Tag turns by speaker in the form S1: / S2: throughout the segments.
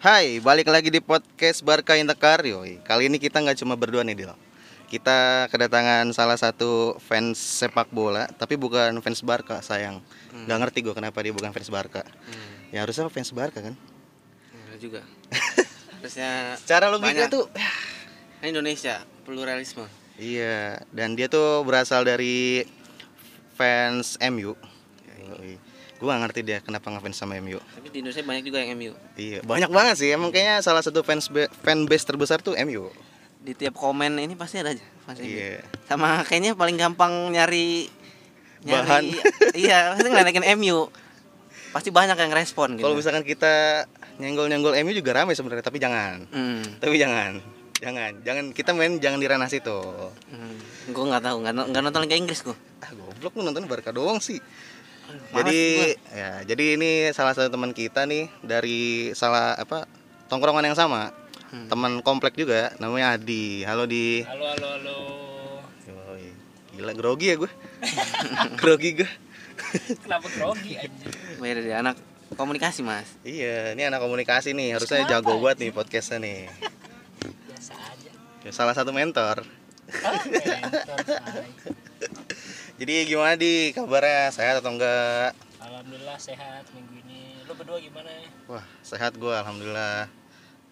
S1: Hai, balik lagi di podcast Barca Intekar yoi. Kali ini kita nggak cuma berdua nih Dil Kita kedatangan salah satu fans sepak bola Tapi bukan fans Barca sayang Nggak ngerti gue kenapa dia bukan fans Barca Ya harusnya fans Barca kan
S2: Hmm, Enggak juga. Terusnya
S1: Cara
S2: logika
S1: logika tuh
S2: kan Indonesia pluralisme.
S1: Iya, dan dia tuh berasal dari fans MU Yoi. Gue gak ngerti dia kenapa ngefans sama MU
S2: Tapi di Indonesia banyak juga yang MU.
S1: Iya, banyak banget sih Emang kayaknya salah satu fans be- fanbase terbesar tuh MU
S2: Di tiap komen ini pasti ada aja pasti MU.
S1: Iya
S2: Sama kayaknya paling gampang nyari, nyari
S1: Bahan.
S2: iya, pasti ngeledekin MU. Pasti banyak yang respon gitu.
S1: Kalau misalkan kita nyenggol-nyenggol MU juga rame sebenarnya, tapi jangan.
S2: Hmm.
S1: Tapi jangan. Jangan, jangan kita main jangan di ranah situ.
S2: hmm. Gue nggak tahu, nggak no- nggak nonton Liga Inggris gue.
S1: Ah, goblok lu nonton Barca doang sih.
S2: malas
S1: Jadi ya, jadi ini salah satu teman kita nih dari salah apa tongkrongan yang sama.
S2: Hmm.
S1: Teman komplek juga namanya Adi. Halo Di.
S3: Halo halo halo.
S1: Yoi. Gila grogi ya gue. grogi gue.
S3: Kenapa grogi anjir?
S2: Bayar ya, dia anak komunikasi mas.
S1: Iya, ini anak komunikasi nih, harusnya jago buat nih podcastnya nih.
S3: Biasa aja.
S1: Ya, Salah satu mentor.
S3: Ah, mentor, say.
S1: Jadi gimana di kabarnya sehat atau enggak?
S3: Alhamdulillah sehat minggu ini. Lu berdua gimana?
S1: Wah sehat gue alhamdulillah.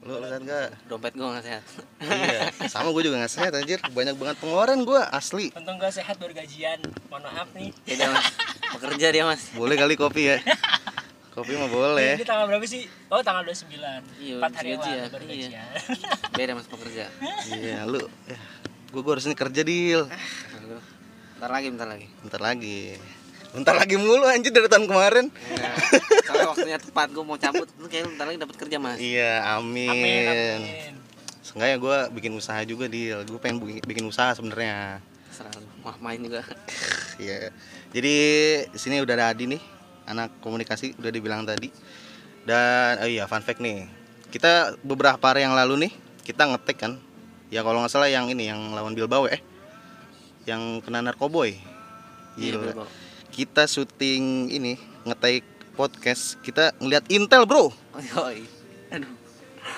S1: Lu, lu sehat enggak?
S2: Dompet gue nggak sehat.
S1: iya. Sama gue juga nggak sehat anjir. Banyak banget pengeluaran gue asli.
S3: Untung gak sehat baru gajian. Mohon maaf nih.
S2: Beda mas. Pekerja dia mas.
S1: Boleh kali kopi ya? Kopi mah boleh.
S3: Ini tanggal berapa sih? Oh, tanggal 29.
S2: Iya,
S3: Empat hari yang
S2: gajian.
S3: lalu baru
S2: Iya.
S3: gajian.
S2: Beda mas pekerja.
S1: Iya lu. Gue gue harus ini kerja deal.
S2: Bentar lagi, bentar lagi.
S1: Bentar lagi. Bentar lagi mulu anjir dari tahun kemarin.
S2: Iya. Soalnya waktunya tepat gue mau cabut lu kayak bentar lagi dapat kerja mas
S1: Iya
S3: Amin,
S1: amin.
S3: amin.
S1: Seenggaknya gue bikin usaha juga deal. Gue pengen bu- bikin usaha sebenarnya.
S2: selalu wah main juga
S1: Iya. Jadi di sini udah ada Adi nih, anak komunikasi udah dibilang tadi. Dan oh iya fun fact nih. Kita beberapa hari yang lalu nih kita ngetek kan. Ya kalau nggak salah yang ini yang lawan Bilbao ya, eh. Yang kena narkoboy.
S2: Iya,
S1: Gila.
S2: Bilbao.
S1: kita syuting ini ngetek podcast kita ngeliat Intel bro
S2: Yoi. aduh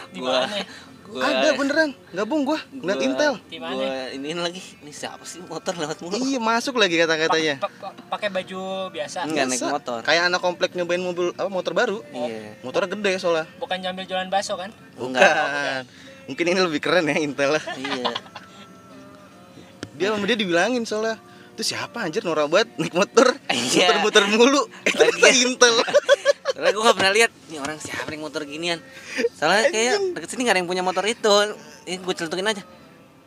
S3: Di
S2: gua
S3: mana?
S2: gua
S1: ada beneran gabung gua ngeliat
S2: gua-
S1: Intel
S3: Di mana?
S2: gua iniin lagi ini siapa sih motor lewat mulu
S1: iya masuk lagi kata-katanya
S3: Pa- pa- Pakai baju
S1: Hmm.
S3: biasa.
S2: Enggak naik
S1: Masa?
S2: motor
S1: kayak anak komplek nyobain mobil apa motor baru
S2: iya
S1: motornya gede soalnya
S3: Bukan nyambil jualan bakso kan?
S2: Oh, enggak
S1: Bukan. Mungkin ini lebih keren ya Intel.
S2: iya
S1: Dia sama dia dibilangin soalnya. Itu siapa anjir Nora banget naik motor,
S2: Iya.
S1: muter-muter mulu. Itu kata Intel.
S2: soalnya gue gak pernah lihat nih orang siapa yang motor ginian soalnya kayak deket sini gak ada yang punya motor itu ini gue celutukin aja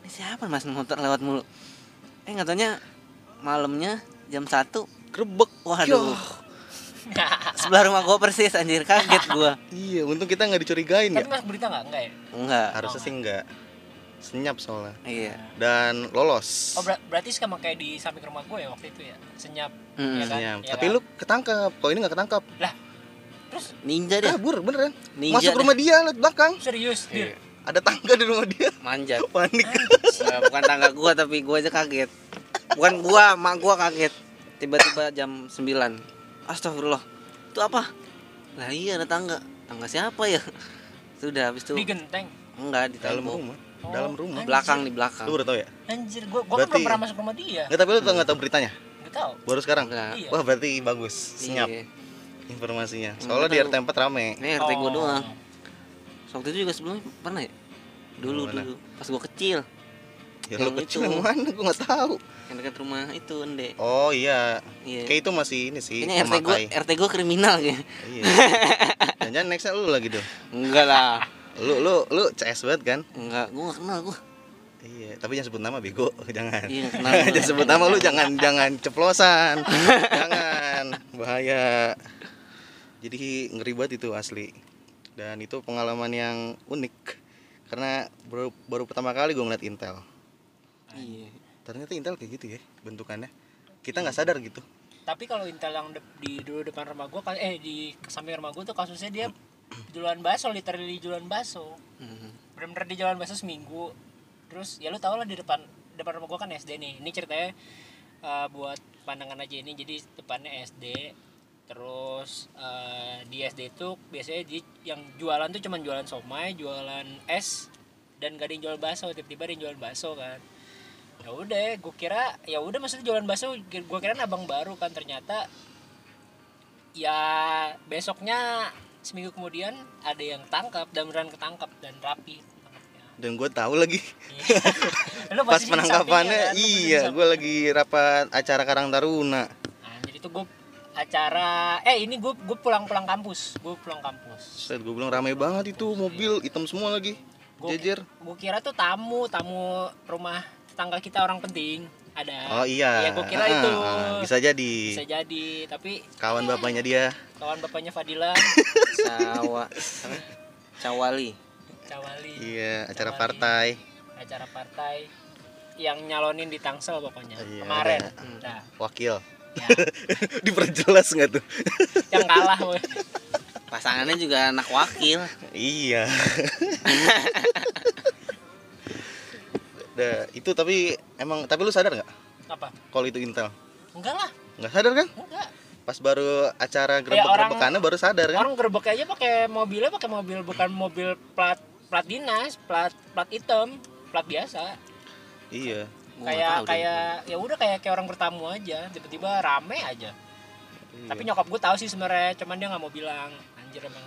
S2: ini siapa mas motor lewat mulu eh nggak taunya malamnya jam 1
S1: Grebek.
S2: waduh sebelah rumah gue persis anjir kaget gue
S1: Iya, untung kita nggak dicurigain ya.
S3: Tapi mas berita nggak? Enggak ya?
S2: enggak
S1: Harusnya sih enggak. Senyap soalnya.
S2: iya
S1: Dan lolos.
S3: Oh, ber- berarti sama kayak di samping rumah gue ya waktu itu ya. Senyap.
S2: Hmm,
S3: ya kan?
S1: Senyap.
S3: Ya
S1: Tapi
S3: kan?
S1: lu ketangkap. Kalau ini nggak ketangkap.
S3: terus
S2: ninja dia
S1: Kabur beneran.
S2: Iya. Ninja
S1: Masuk
S2: deh.
S1: rumah dia liat belakang.
S3: serius, Dir.
S1: Ada tangga di rumah dia.
S2: manjat
S1: Panik.
S2: Ya, bukan tangga gua tapi gua aja kaget bukan gua mak gua kaget tiba-tiba jam 9 astagfirullah itu apa lah iya ada tangga tangga siapa ya sudah habis itu
S3: Di genteng.
S2: enggak di
S1: Dalam
S2: tembok. eh.
S1: rumah. Dalam rumah.
S2: belakang di
S1: Lu
S2: belakang
S1: udah tau ya?
S3: Anjir, gua gua kan belum
S1: Berarti-
S3: pernah masuk rumah dia.
S1: Nggak, tapi lu tau nggak tau beritanya?
S3: Gak tahu.
S1: Baru sekarang?
S2: Enggak.
S3: Iya.
S1: Wah berarti bagus, senyap
S2: Iya.
S1: informasinya. Soalnya di
S2: Betul.
S1: RT 4 rame.
S2: ini rt gua
S3: Oh.
S2: doang waktu itu juga sebelumnya pernah ya dulu
S1: Mana?
S2: dulu pas gua kecil
S1: Ya lu
S2: Yang
S1: kecil
S2: itu.
S1: yang mana gua nggak tahu.
S2: yang dekat rumah itu ende
S1: Oh iya.
S2: iya
S1: Kayak itu masih ini sih
S2: ini rt gua rt gua kriminal ya
S1: Iya. Jangan nextnya lu lagi dong.
S2: enggak lah
S1: Lu lu lu CS banget kan?
S2: enggak gua nggak kenal gua
S1: Iya, tapi jangan sebut nama bego, jangan.
S2: Iya, kenal gua.
S1: jangan sebut nama lu jangan jangan ceplosan. jangan, bahaya. Jadi ngeri banget itu asli. Dan itu pengalaman yang unik karena baru, baru pertama kali gua ngeliat Intel.
S2: iya
S1: ternyata Intel kayak gitu ya bentukannya kita nggak sadar gitu
S3: Tapi kalau Intel yang de- di dulu depan rumah gua kan- eh di samping rumah gua tuh kasusnya dia jualan bakso, literally jualan bakso.
S2: Hmm.
S3: Bener-bener di jualan bakso seminggu. Terus ya lu tau lah di depan depan rumah gua kan SD nih. Ini ceritanya eh, buat pandangan aja ini. Jadi depannya SD terus eh, di SD itu biasanya di- yang jualan tuh cuman jualan somai jualan es dan gak ada yang jual bakso tiba-tiba ada yang jual bakso kan ya udah gue kira ya udah maksudnya jualan bakso gue kira abang baru kan ternyata ya besoknya seminggu kemudian ada yang tangkap dan beneran ketangkap dan rapi tangkapnya.
S1: Dan gue tahu lagi
S3: Lu
S1: pas
S3: posisi di sampingnya,
S1: penangkapannya,
S3: kan? Lu posisi di
S1: iya, gue lagi rapat acara Karang Taruna.
S3: Nah, jadi itu gue acara eh ini gue gue pulang-pulang kampus, gue pulang kampus.
S1: Set, gue bilang ramai banget itu mobil hitam semua lagi.
S3: Gua-
S1: Jejer.
S3: Gue kira tuh tamu tamu rumah tetangga kita orang penting ada.
S1: Oh iya.
S3: Iya gue kira
S1: Ah,
S3: itu
S1: ah, bisa
S3: bisa,
S1: jadi
S3: jadi tapi
S1: kawan bapaknya dia.
S3: kawan bapaknya Fadila
S2: Cawa apa? Cawali
S3: Cawali
S1: Iya, acara
S3: Sama
S1: partai.
S3: acara partai yang nyalonin di Tangsel pokoknya
S1: Iya,
S3: kemarin.
S1: ada.
S3: Nah,
S1: Wakil.
S3: ya,
S1: Diperjelas nggak tuh?
S3: yang kalah. woy.
S2: pasangannya juga anak wakil
S1: iya. Nah, itu tapi emang tapi lu sadar nggak
S3: Apa?
S1: kalau itu Intel?
S3: Enggak lah,
S1: Nggak sadar kan?
S3: enggak.
S1: Pas baru acara
S3: orang-
S1: gerebek-gerebekannya baru sadar kan?
S3: orang gerbek aja pakai mobilnya pakai mobil bukan mobil plat plat dinas plat plat hitam plat biasa
S1: Iya.
S2: Gua nggak
S3: kayak
S2: tahu deh.
S3: kayak ya udah kayak kayak orang bertamu aja tiba-tiba rame aja tapi nyokap gue tahu sih sebenarnya cuman dia nggak mau bilang anjir emang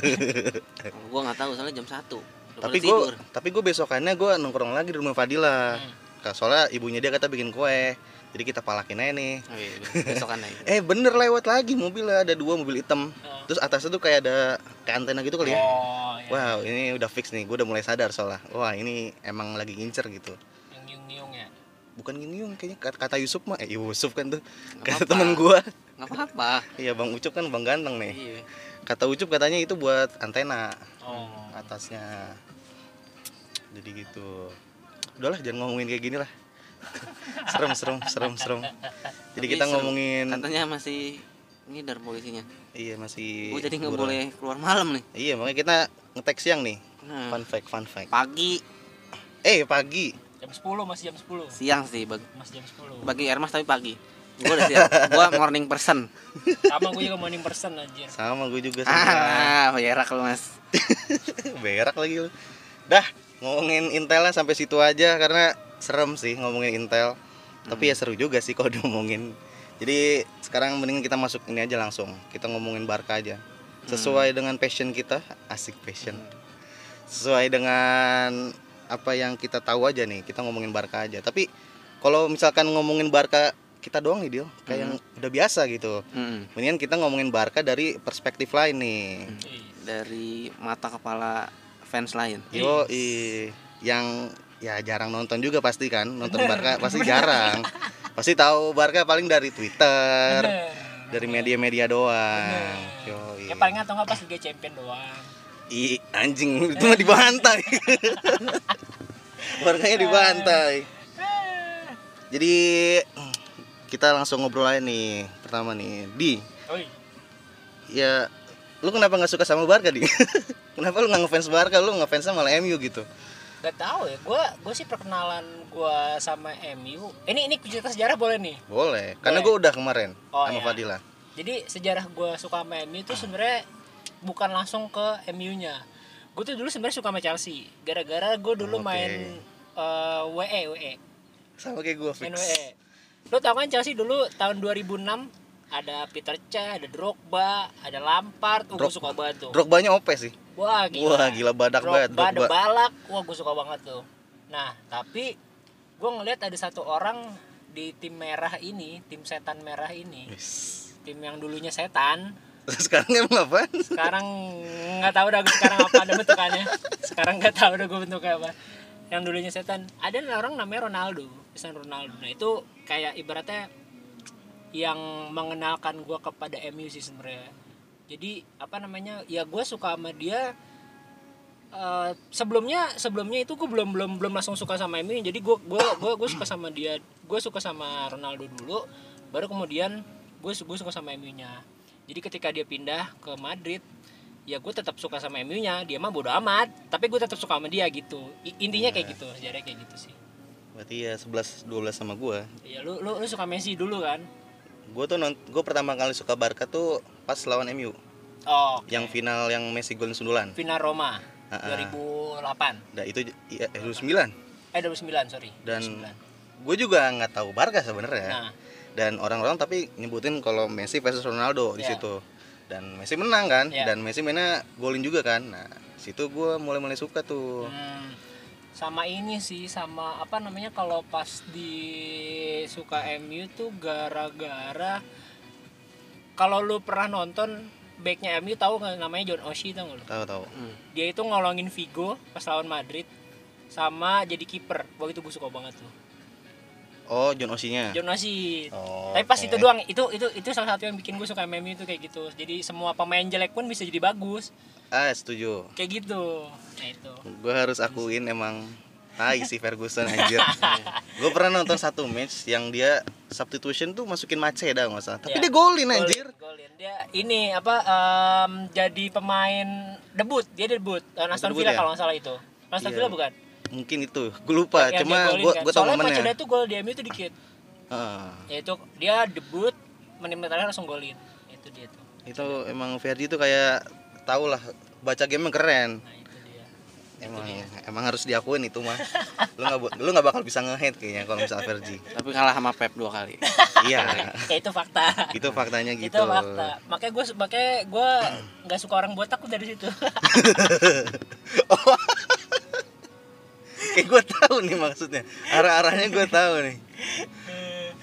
S2: Oh, gua nggak tahu soalnya jam satu Udah
S1: tapi
S2: pada
S1: gue
S2: tidur.
S1: tapi gue besokannya gue nongkrong lagi di rumah Fadila Nah, soalnya ibunya dia kata bikin kue jadi kita palakin aja nih
S2: Oh, iya, iya. besokan lagi
S1: eh bener lewat lagi mobilnya ada dua mobil hitam
S3: Hmm.
S1: terus atasnya tuh kayak ada kayak antena gitu kali ya
S3: oh ya.
S1: wow ini udah fix nih gue udah mulai sadar soalnya wah ini emang lagi ngincer gitu
S3: yang nyung nyung ya
S1: bukan gini yung kayaknya kata, kata Yusuf mah eh Yusuf kan tuh
S2: Nggak
S1: kata
S2: apa-apa.
S1: temen gue
S2: nggak apa-apa
S1: iya bang Ucup kan bang ganteng nih
S2: Iya.
S1: kata Ucup katanya itu buat antena
S3: oh
S1: atasnya jadi gitu udahlah jangan ngomongin kayak gini lah serem serem serem serem jadi
S2: Tapi
S1: kita
S2: serem.
S1: ngomongin
S2: katanya masih ngidar polisinya
S1: iya masih
S2: gua Oh, jadi nggak
S1: buram.
S2: boleh keluar malam nih
S1: iya makanya kita ngetek siang nih
S2: Nah,
S1: fun fact fun fact
S2: pagi
S1: eh pagi
S3: jam 10 masih jam 10
S2: siang sih bag-
S3: masih jam 10
S2: bagi Ermas tapi pagi gua udah siap gua morning person
S3: sama gue juga morning person anjir
S1: sama gue juga sama
S2: ah berak lu mas
S1: berak lagi lu dah ngomongin Intel lah sampai situ aja karena serem sih ngomongin Intel tapi ya seru juga sih kalau diomongin jadi sekarang mendingan kita masuk ini aja langsung kita ngomongin Barca aja sesuai dengan passion kita asik passion sesuai dengan apa yang kita tahu aja nih kita ngomongin Barca aja tapi kalau misalkan ngomongin Barca kita doang nih Dil kayak yang udah biasa gitu
S2: Hmm.
S1: mendingan kita ngomongin Barca dari perspektif lain nih
S3: Ih,
S2: dari mata kepala fans lain
S1: Yo, yang ya jarang nonton juga pasti kan, nonton Barca pasti jarang. Pasti tahu Barca paling dari Twitter,
S3: bener.
S1: dari media-media doang.
S3: Bener.
S1: Yo,
S3: ya paling atau nggak pas Liga Champion doang
S1: i anjing itu mah dibantai. Barkanya dibantai.
S3: Ah.
S1: Jadi kita langsung ngobrol aja nih pertama nih di
S3: Oi,
S1: ya lu kenapa nggak suka sama Barca di kenapa lu nggak ngefans Barca lu ngefansnya malah MU gitu
S3: Gak tahu ya, gue gue sih perkenalan gue sama MU. Ini ini cerita sejarah boleh nih.
S1: boleh karena gue
S3: Boleh.
S1: udah kemarin
S3: Oh,
S1: sama
S3: ya.
S1: Fadila
S3: Jadi sejarah gue suka sama MU itu sebenarnya bukan langsung ke MU-nya. Gue tuh dulu sebenarnya suka sama Chelsea. Gara-gara gue
S1: Oke.
S3: dulu main eh, WE WE
S1: sama kayak gue
S3: main WE. Lo tau kan Chelsea dulu tahun 2006 ada Peter Cech, ada Drogba, ada Lampard. Uh, gue
S1: Drog-
S3: suka banget tuh.
S1: Drogbanya OP sih.
S3: Wah gila.
S1: Wah, gila badak banget
S3: Drogba, ada
S1: Drogba.
S3: balak. Wah gue suka banget tuh. Nah tapi gue ngelihat ada satu orang di tim merah ini, tim setan merah ini, tim yang dulunya setan.
S1: Terus sekarang emang apa?
S3: Sekarang nggak tahu dah gue sekarang apa ada bentukannya. Sekarang nggak tahu dah gue bentuknya apa. Yang dulunya setan. Ada orang namanya Ronaldo, Cristiano Ronaldo. Nah itu kayak ibaratnya yang mengenalkan gue kepada MU sih sebenarnya. Jadi apa namanya? Ya gue suka sama dia eh, sebelumnya sebelumnya itu gue belum belum belum langsung suka sama MU jadi gue gue gue gue suka sama dia gue suka sama Ronaldo dulu baru kemudian gue gue suka sama MU nya jadi ketika dia pindah ke Madrid ya gue tetap suka sama MU nya dia mah bodo amat tapi gue tetap suka sama dia gitu I- intinya kayak gitu sejarah kayak gitu sih
S1: Berarti ya 11 12 sama gua.
S3: ya lu lu lu suka Messi dulu kan
S1: gue tuh gue pertama kali suka Barca tuh pas lawan MU
S3: Oh, oke.
S1: yang final yang Messi golin sundulan.
S3: final Roma
S1: Ah, ah.
S3: 2008.
S1: Nah itu iya, eh, 2009
S3: Eh 2009, sorry.
S1: dan ya.
S3: 2009.
S1: gue juga nggak tahu Barca sebenarnya
S3: Nah,
S1: dan orang-orang tapi nyebutin kalau Messi versus Ronaldo di
S3: Iya.
S1: situ dan Messi menang kan
S3: Iya.
S1: dan Messi mainnya golin juga kan nah situ gue mulai-mulai suka tuh
S3: hmm, sama ini sih sama apa namanya kalau pas di suka MU tuh gara-gara kalau lu pernah nonton backnya MU tahu nggak namanya John Oshie tau nggak lu?
S1: tahu-tahu
S2: Hmm.
S3: Dia itu ngolongin Vigo pas lawan Madrid sama jadi kiper. Wah itu gue suka banget tuh.
S1: oh John Oshie-nya
S3: John Oshie
S1: oh,
S3: Tapi pas
S1: oke.
S3: itu doang, itu itu itu salah satu yang bikin gue suka MMU itu kayak gitu. Jadi semua pemain jelek pun bisa jadi bagus,
S1: ah setuju
S3: kayak gitu. Nah itu.
S1: gue harus akuin emang tai si Ferguson anjir gue pernah nonton satu match yang dia substitution tuh masukin Maceda nggak salah tapi
S3: Iya.
S1: dia golin anjir
S3: Golin, golin. Dia ini apa em, jadi pemain debut, dia debut. Eh, Aston
S1: Debut ya?
S3: Villa kalau nggak salah itu. Aston
S1: Iya.
S3: Villa bukan?
S1: mungkin itu gue lupa
S3: Yang dia
S1: cuma
S3: golin
S1: gue
S3: kan.
S1: gue tau
S3: Soalnya Maceda
S1: momennya Ah,
S3: tuh gol di MU itu dikit.
S1: Heeh.
S3: Yaitu dia debut menit terakhir langsung golin. Itu dia tuh.
S1: itu emang Ferdi tuh kayak tau lah baca game keren
S3: Nah, itu dia.
S1: emang
S3: Iya.
S1: emang harus diakuin itu mah lu nggak bu- lu nggak bakal bisa nge-hate kayaknya kalau misal Ferdi
S2: Tapi kalah sama Pep dua kali.
S1: iya
S3: Ya itu fakta.
S1: itu faktanya gitu
S3: Itu fakta. Makanya gue makanya gue nggak suka orang botak tuh dari situ.
S1: kayak gue tahu nih maksudnya arah arahnya gue tahu nih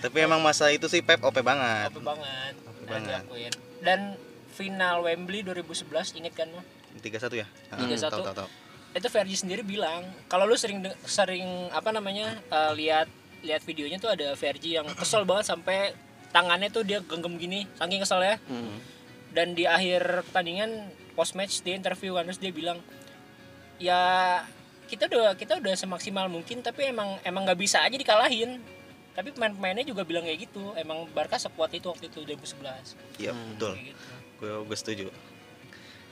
S1: tapi emang masa itu sih Pep OP banget
S3: Apa banget.
S1: Apa
S3: Harus
S1: banget.
S3: diakuin. Dan final Wembley 2011 inget kan lo?
S1: 31 ya Ah,
S3: 31.
S1: tahu tahu tahu
S3: Itu Fergie sendiri bilang kalau lu sering de- sering apa namanya eh, lihat lihat videonya tuh ada Fergie yang kesel banget sampai tangannya tuh dia genggam gini saking kesel ya
S2: Hmm.
S3: dan di akhir pertandingan post match dia interview kan terus dia bilang ya kita udah kita udah semaksimal mungkin tapi emang emang nggak bisa aja dikalahin tapi pemain-pemainnya juga bilang kayak gitu emang Barca sekuat itu waktu itu 2011
S1: iya
S2: Hmm.
S1: betul
S3: kayak gitu
S1: gue gue setuju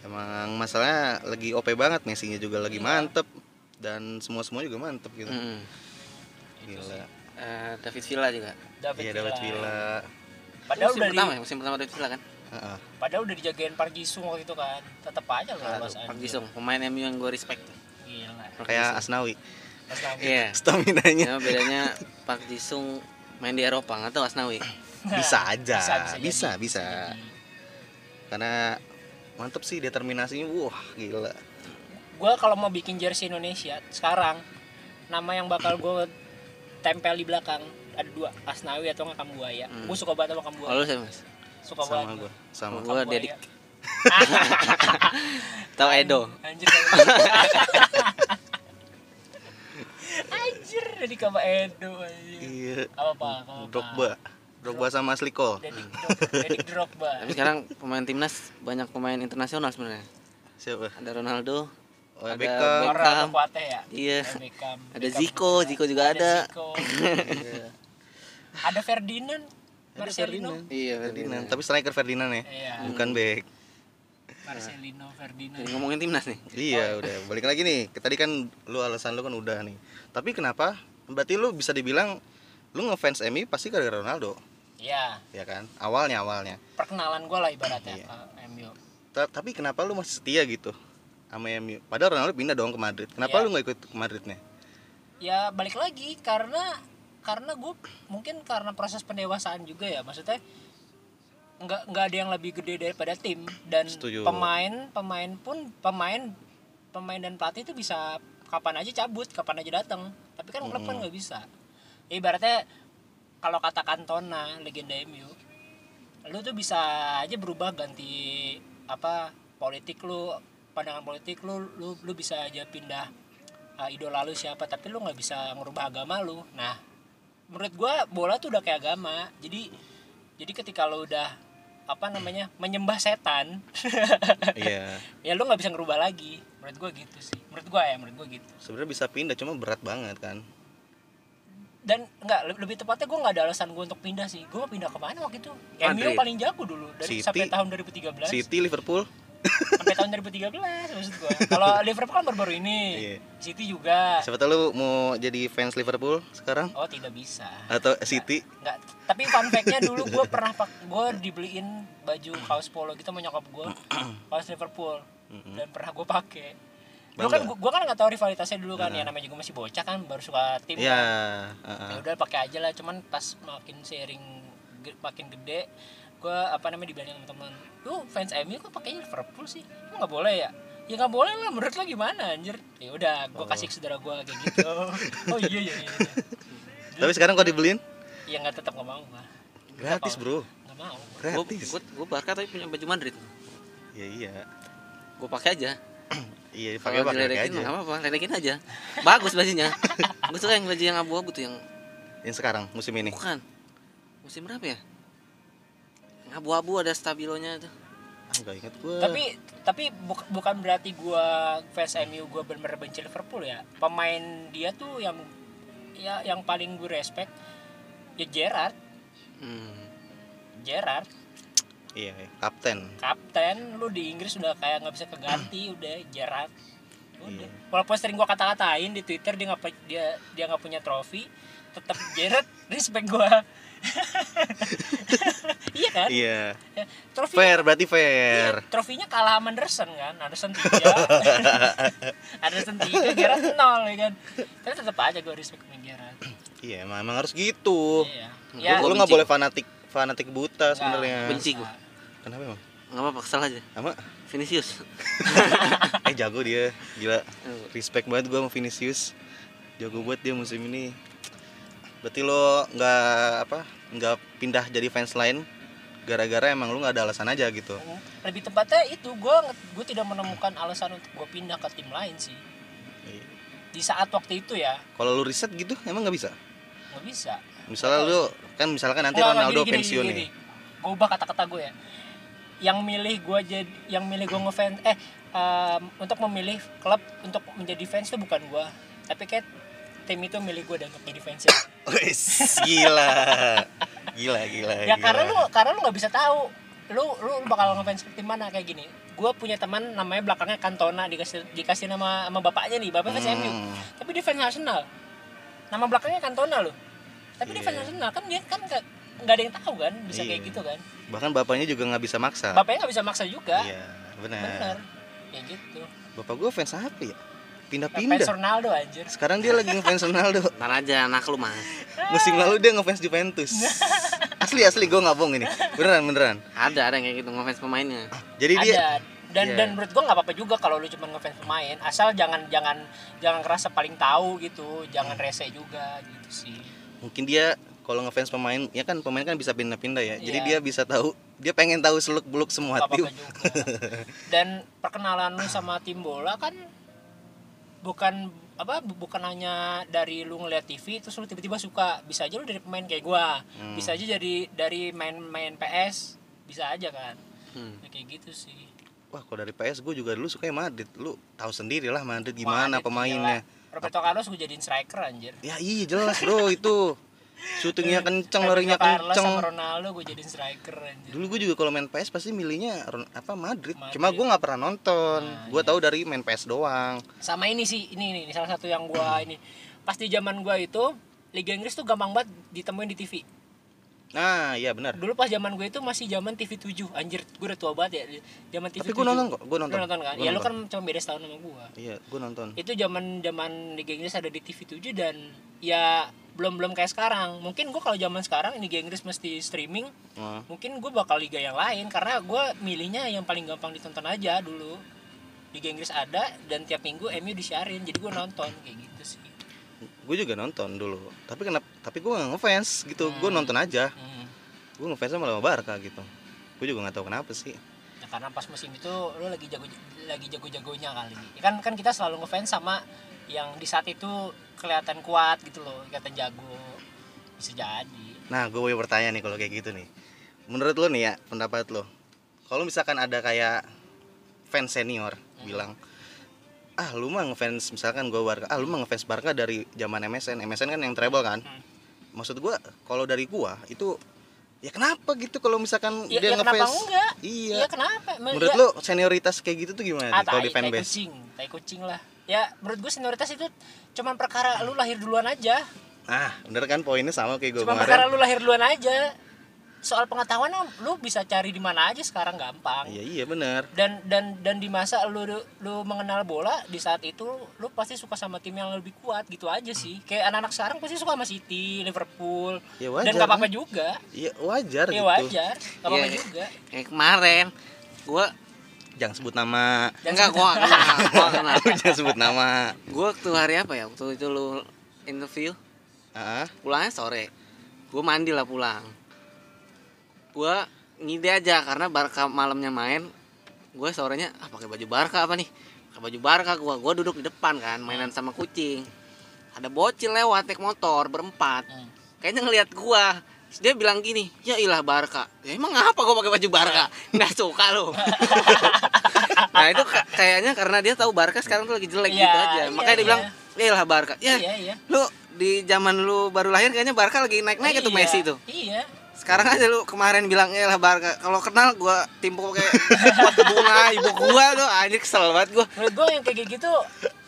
S1: emang masalahnya lagi OP banget Messi-nya juga lagi mantep dan semua semua juga mantep gitu
S2: Iya. Hmm.
S1: gila
S2: Eh, David Villa juga.
S3: David,
S1: iya David
S3: Villa.
S1: Villa
S3: Padahal
S2: musim
S3: udah
S2: pertama
S3: di,
S2: ya, musim pertama David Villa kan.
S1: Heeh.
S3: padahal udah dijagain Park Ji Sung waktu itu kan. Tetap aja loh
S2: Aduh,
S3: Mas
S2: Park
S3: anjir.
S2: Jisung, Iya, pemain MU yang gue respect.
S3: Gila.
S2: Park
S1: kayak
S2: Ji Sung.
S1: Asnawi
S3: Mas Nabi.
S2: Iya.
S1: staminanya
S2: Cuma bedanya Park Jisung main di Eropa nggak tahu Asnawi.
S1: bisa aja
S3: Bisa, bisa
S1: bisa
S3: jadi.
S1: bisa,
S3: Jadi,
S1: karena mantep sih determinasinya wah gila
S3: Gua kalau mau bikin jersey Indonesia sekarang nama yang bakal gue tempel di belakang ada dua Asnawi atau nggak Kambuaya.
S2: Hmm.
S3: Gue suka banget sama
S2: Kalau
S3: Kambuaya.
S2: lu siapa mas?
S3: Suka
S1: sama
S3: banget.
S1: gue sama
S2: Gua
S3: Kambuaya.
S2: Dedik. Tahu Edo.
S3: Anjir. Anjir, Dedik sama Edo. anjir.
S1: iya
S3: Apa-apa, apa-apa.
S1: Drogba Drogba sama Sliko
S3: Dedik Drogba, Dedik Drogba.
S2: Tapi sekarang pemain timnas banyak pemain internasional sebenarnya.
S1: siapa
S2: Ada Ronaldo,
S1: oh,
S2: Ada
S1: Beckham
S3: Orang
S2: Beckham.
S3: Kuatnya ya.
S2: iya.
S3: Ada Beckham.
S2: Ada
S3: Beckham
S2: Zico, Zico juga ada.
S3: Zico. ada Ferdinand,
S1: Ada
S3: Marcelino.
S1: Ferdinand.
S2: Iya,
S1: Ferdinand tapi striker Ferdinand ya
S3: Iya,
S1: bukan Beck
S3: Marcelino Ferdinand.
S2: Jadi ngomongin timnas nih.
S1: Iya, udah. Balik lagi nih. Ke- Tadi kan lu alasan lu kan udah nih. Tapi kenapa? Berarti lu bisa dibilang lu ngefans MU pasti gara-gara Ronaldo,
S3: Ya,
S1: ya kan? Awalnya awalnya.
S3: perkenalan gue lah ibaratnya
S1: Iya.
S3: ke MU.
S1: Ta- tapi kenapa lu masih setia gitu sama MU? Padahal Ronaldo pindah dong ke Madrid. Kenapa
S3: Iya.
S1: lu nggak ikut ke Madridnya?
S3: Ya balik lagi karena karena gue mungkin karena proses pendewasaan juga ya maksudnya nggak nggak ada yang lebih gede daripada tim dan
S1: Setuju.
S3: pemain pemain pun pemain pemain dan pelatih itu bisa kapan aja cabut kapan aja datang tapi kan klub kan nggak bisa Ya, ibaratnya kalau kata Cantona legenda MU lu tuh bisa aja berubah ganti apa politik lu pandangan politik lu lu, lu bisa aja pindah uh, idola lu siapa tapi lu nggak bisa ngubah agama lu nah menurut gua bola tuh udah kayak agama jadi jadi ketika lu udah apa namanya menyembah setan
S1: Iya.
S3: ya lu nggak bisa ngerubah lagi menurut gua gitu sih menurut gua ya menurut gua gitu
S1: Sebenarnya bisa pindah cuma berat banget kan.
S3: dan nggak le- lebih tepatnya gua nggak ada alasan gua untuk pindah sih gua mau pindah kemana waktu itu MU
S2: Madrid.
S3: paling jago dulu dari
S1: City.
S3: sampai tahun 2013
S1: City, Liverpool,
S3: sampai tahun 2013 maksud gua. Kalau Liverpool kan baru-baru ini.
S1: Iya.
S3: City juga.
S1: Siapa tahu lu mau jadi fans Liverpool sekarang
S3: Oh, tidak bisa.
S1: atau City?
S3: Enggak. Tapi fun fact-nya dulu gua pernah pak gua dibeliin baju kaos polo gitu sama nyokap gua. kaos Liverpool. Dan pernah gua pakai. Dulu kan
S1: Bangga.
S3: gua, gua kan nggak tahu rivalitasnya dulu kan ya namanya juga masih bocah kan baru suka tim
S1: Ya,
S3: kan.
S1: heeh.
S3: Ya udah pakai aja lah cuman pas makin sering ge- makin gede gua apa namanya dibanding sama teman lu fans MU kok pakainya Liverpool sih emang nggak boleh ya ya nggak boleh lah menurut lo gimana anjir ya udah gua kasih ke saudara gua kayak gitu oh iya iya iya
S1: Tapi sekarang kok dibeliin?
S3: ya nggak tetap nggak mau gua
S1: Gratis,
S3: Apa?
S1: Bro.
S3: nggak mau
S2: Gue
S1: Gratis.
S2: gue gue Barca tapi punya baju Madrid.
S1: Iya, iya.
S2: Gue pakai aja.
S1: Iya, pakai
S2: Kalau
S1: pakai
S2: diledekin
S1: aja.
S2: nggak apa-apa, ledekin aja. Bagus bajunya. Gue suka yang baju yang abu-abu tuh yang
S1: Yang sekarang musim ini.
S2: bukan. Musim berapa ya? Yang abu-abu ada stabilonya tuh.
S1: Ah, enggak ingat gua.
S3: tapi tapi buk- bukan berarti gua fans MU gua bener-bener benci Liverpool ya pemain dia tuh yang ya yang paling gue respect ya Gerrard
S2: Hmm.
S3: Gerrard
S1: iya, iya. kapten.
S3: kapten lu di Inggris udah kayak nggak bisa keganti udah Gerrard udah
S1: Iya.
S3: walaupun sering gua kata-katain di Twitter dia nggak pe- dia dia nggak punya trofi tetap Gerrard respect gua iya kan
S1: Iya.
S3: Ya, trofi
S1: Fair berarti
S3: iya,
S1: fair.
S3: trofinya kalah sama Anderson kan Anderson tiga Anderson tiga Gerrard nol ya kan tapi tetap aja gua respect sama Gerrard
S1: Iya, emang, emang harus gitu.
S3: iya
S2: Ya,
S1: lu
S2: gua
S1: lu nggak
S2: benci.
S1: boleh fanatik fanatik buta sebenarnya.
S2: Benci gua.
S3: Ah.
S1: Kenapa emang?
S2: Nggak apa-apa, kesel aja.
S1: Sama
S2: Vinicius.
S1: eh jago dia, gila. Respect banget gua sama Vinicius. Jago buat dia musim ini. Berarti lo nggak apa? Nggak pindah jadi fans lain gara-gara emang lu nggak ada alasan aja gitu.
S3: lebih tepatnya itu gue gue tidak menemukan alasan untuk gue pindah ke tim lain sih
S1: Iya.
S3: di saat waktu itu ya
S1: Kalau lu riset gitu emang nggak bisa.
S3: nggak bisa
S1: Misalnya lu kan misalkan nanti
S3: Nggak, nggak,
S1: Ronaldo
S3: gini, gini,
S1: pensiun ya.
S3: gini,
S1: nih.
S3: gini. Gua ubah kata-kata gue ya yang milih gue jadi yang milih gue ngefans eh em, untuk memilih klub untuk menjadi fans itu bukan gue tapi kayak tim itu milih gue dan untuk jadi ya. fansnya
S1: Wes, gila. Gila, gila.
S3: ya karena
S1: gila.
S3: lu karena lu nggak bisa tahu lu lu lu bakal ngefans ke tim mana kayak gini gue punya teman namanya belakangnya Cantona dikasih dikasih nama sama bapaknya nih bapak fans MU
S1: Hmm.
S3: tapi dia fans Arsenal nama belakangnya Cantona loh tapi dia
S1: Iya.
S3: fans Arsenal kan dia kan nggak nggak ada yang tahu kan bisa kayak
S1: Iya.
S3: gitu kan
S1: Bahkan bapaknya juga nggak bisa maksa.
S3: bapaknya nggak bisa maksa juga
S1: Iya, benar.
S3: bener ya gitu
S1: Bapak gue fans apa ya?
S3: fans
S1: Pindah-pindah.
S3: Ronaldo anjir
S1: Sekarang dia lagi ngefans Ronaldo.
S2: Ntar aja anak lu mah.
S1: Musim lalu dia ngefans Juventus. Asli asli gue nggak bohong ini. Beneran beneran.
S2: Ada ada yang kayak gitu ngefans pemainnya.
S1: Jadi dia
S3: ada dan
S1: Iya.
S3: dan menurut gua nggak apa-apa juga kalau lu cuma ngefans pemain asal jangan jangan jangan kerasa paling tahu gitu jangan
S1: Hmm.
S3: rese juga gitu sih
S1: mungkin dia kalau ngefans pemain ya kan pemain kan bisa pindah-pindah ya. Jadi dia
S3: Iya.
S1: bisa tahu dia pengen tahu seluk beluk semua
S3: nggak
S1: tim.
S3: apa-apa juga dan perkenalan lu sama tim bola kan bukan apa bu- bukan hanya dari lu ngeliat TV terus lu tiba-tiba suka bisa aja lu dari pemain kayak gua
S1: Hmm.
S3: bisa aja jadi dari main-main PS bisa aja kan
S2: Hmm.
S3: Ya kayak gitu sih
S1: Wah kalau dari PS gue juga dulu suka yang Madrid. Lu tahu sendiri lah Madrid gimana
S3: Madrid,
S1: pemainnya.
S3: gila. Roberto Carlos gue jadiin striker anjir
S1: Ya iya jelas bro itu. Shootingnya kenceng, larinya
S3: Fabinho Iya, Carlos sama
S1: kenceng.
S3: Ronaldo gue jadiin striker anjir
S1: Dulu gue juga kalau main PS pasti milihnya Ron- apa Madrid.
S3: Madrid.
S1: Cuma gue nggak pernah nonton.
S3: Nah,
S1: gue tahu dari main PS doang.
S3: sama ini sih ini ini, ini salah satu yang
S1: Hmm.
S3: gua ini pasti zaman gua itu Liga Inggris tuh gampang banget ditemuin di TV
S1: Nah iya benar.
S3: dulu pas zaman gue itu masih zaman TV 7 anjir gue udah tua banget ya zaman TV
S1: Tapi gue nonton kok, gue
S3: Lu
S1: nonton.
S3: nonton kan
S1: Gua
S3: ya lu
S1: nonton.
S3: kan cuma beda setahun sama gue
S1: Iya, gue nonton.
S3: itu zaman zaman Liga Inggris ada di TV 7 dan ya belum belum kayak sekarang mungkin gue kalau zaman sekarang Liga Inggris mesti streaming
S1: Wah,
S3: mungkin gue bakal liga yang lain karena gue milihnya yang paling gampang ditonton aja dulu Liga Inggris ada dan tiap minggu MU disiarin jadi gue nonton kayak gitu sih
S1: gue juga nonton dulu. Tapi kenapa? Tapi gue nggak ngefans gitu. Gue
S3: Hmm.
S1: nonton aja.
S3: hmm.
S1: Gue ngefans sama Lama Barca gitu. Gue juga nggak tahu kenapa sih.
S3: Nah, karena pas musim itu lo lagi jago lagi jago-jagonya kali Ya kan kan kita selalu ngefans sama yang di saat itu kelihatan kuat gitu loh kelihatan jago bisa jadi
S1: Nah, gue mau bertanya nih kalau kayak gitu nih. Menurut lo nih ya, pendapat lo. Kalau misalkan ada kayak fans senior
S3: Hmm.
S1: bilang, ah lu mah ngefans misalkan gue Barca, ah lu mah ngefans Barca dari zaman MSN. MSN kan yang treble kan.
S3: Hmm.
S1: Maksud gue, kalau dari gue itu ya kenapa gitu kalau misalkan
S3: Ya,
S1: dia
S3: ya kenapa
S1: ngefans
S3: enggak?
S1: iya
S3: Iya kenapa? Me-
S1: menurut
S3: ya-
S1: lo senioritas kayak gitu tuh gimana
S3: ah,
S1: nih kalau
S3: tai-
S1: di
S3: tai
S1: fanbase
S3: kucing, tai kucing lah. Ya menurut gue senioritas itu cuman perkara lu lahir duluan aja.
S1: nah bener kan poinnya sama kayak gue
S3: Cuma perkara
S1: kemarin
S3: lu lahir duluan aja. Soal pengetahuan lu bisa cari di mana aja sekarang gampang.
S1: iya iya bener
S3: Dan dan dan di masa lu lu mengenal bola di saat itu lu pasti suka sama tim yang lebih kuat gitu aja sih. Kayak anak-anak sekarang pasti suka sama City, Liverpool.
S1: Ya,
S3: dan
S1: wajar,
S3: gak apa-apa juga.
S1: iya wajar
S3: Ya
S1: gitu
S3: wajar, gak apa-apa
S2: Iya.
S3: juga.
S2: kayak kemarin gue
S1: jangan sebut nama
S2: enggak gue kenal gue kenal
S1: Lu jangan sebut nama
S2: gue waktu hari apa ya waktu itu lu interview
S1: ah
S2: pulangnya sore gue mandi lah pulang gue ngide aja karena barca malamnya main gue sorenya ah pakai baju barca apa nih pakai baju barca gue gue duduk di depan kan mainan sama kucing ada bocil lewat naik motor berempat
S3: Hmm.
S2: kayaknya ngelihat gue Terus dia bilang gini, ya ilah Barca. Ya emang apa gue pakai baju Barca? Nggak suka lo. nah itu ka- kayaknya karena dia tahu Barca sekarang tuh lagi jelek
S3: Iya,
S2: gitu aja.
S3: iya,
S2: Makanya dia bilang, ya ilah Barca. Ya,
S3: Iya, iya.
S2: lu di zaman lu baru lahir kayaknya Barca lagi naik-naik itu
S3: Iya,
S2: Messi tuh.
S3: Iya.
S2: Sekarang aja lu kemarin bilang ya lah Barca. Kalau kenal gua timpuk kayak pot bunga ibu gua tuh Ah, anjir kesel banget gua.
S3: menurut gue yang kayak gitu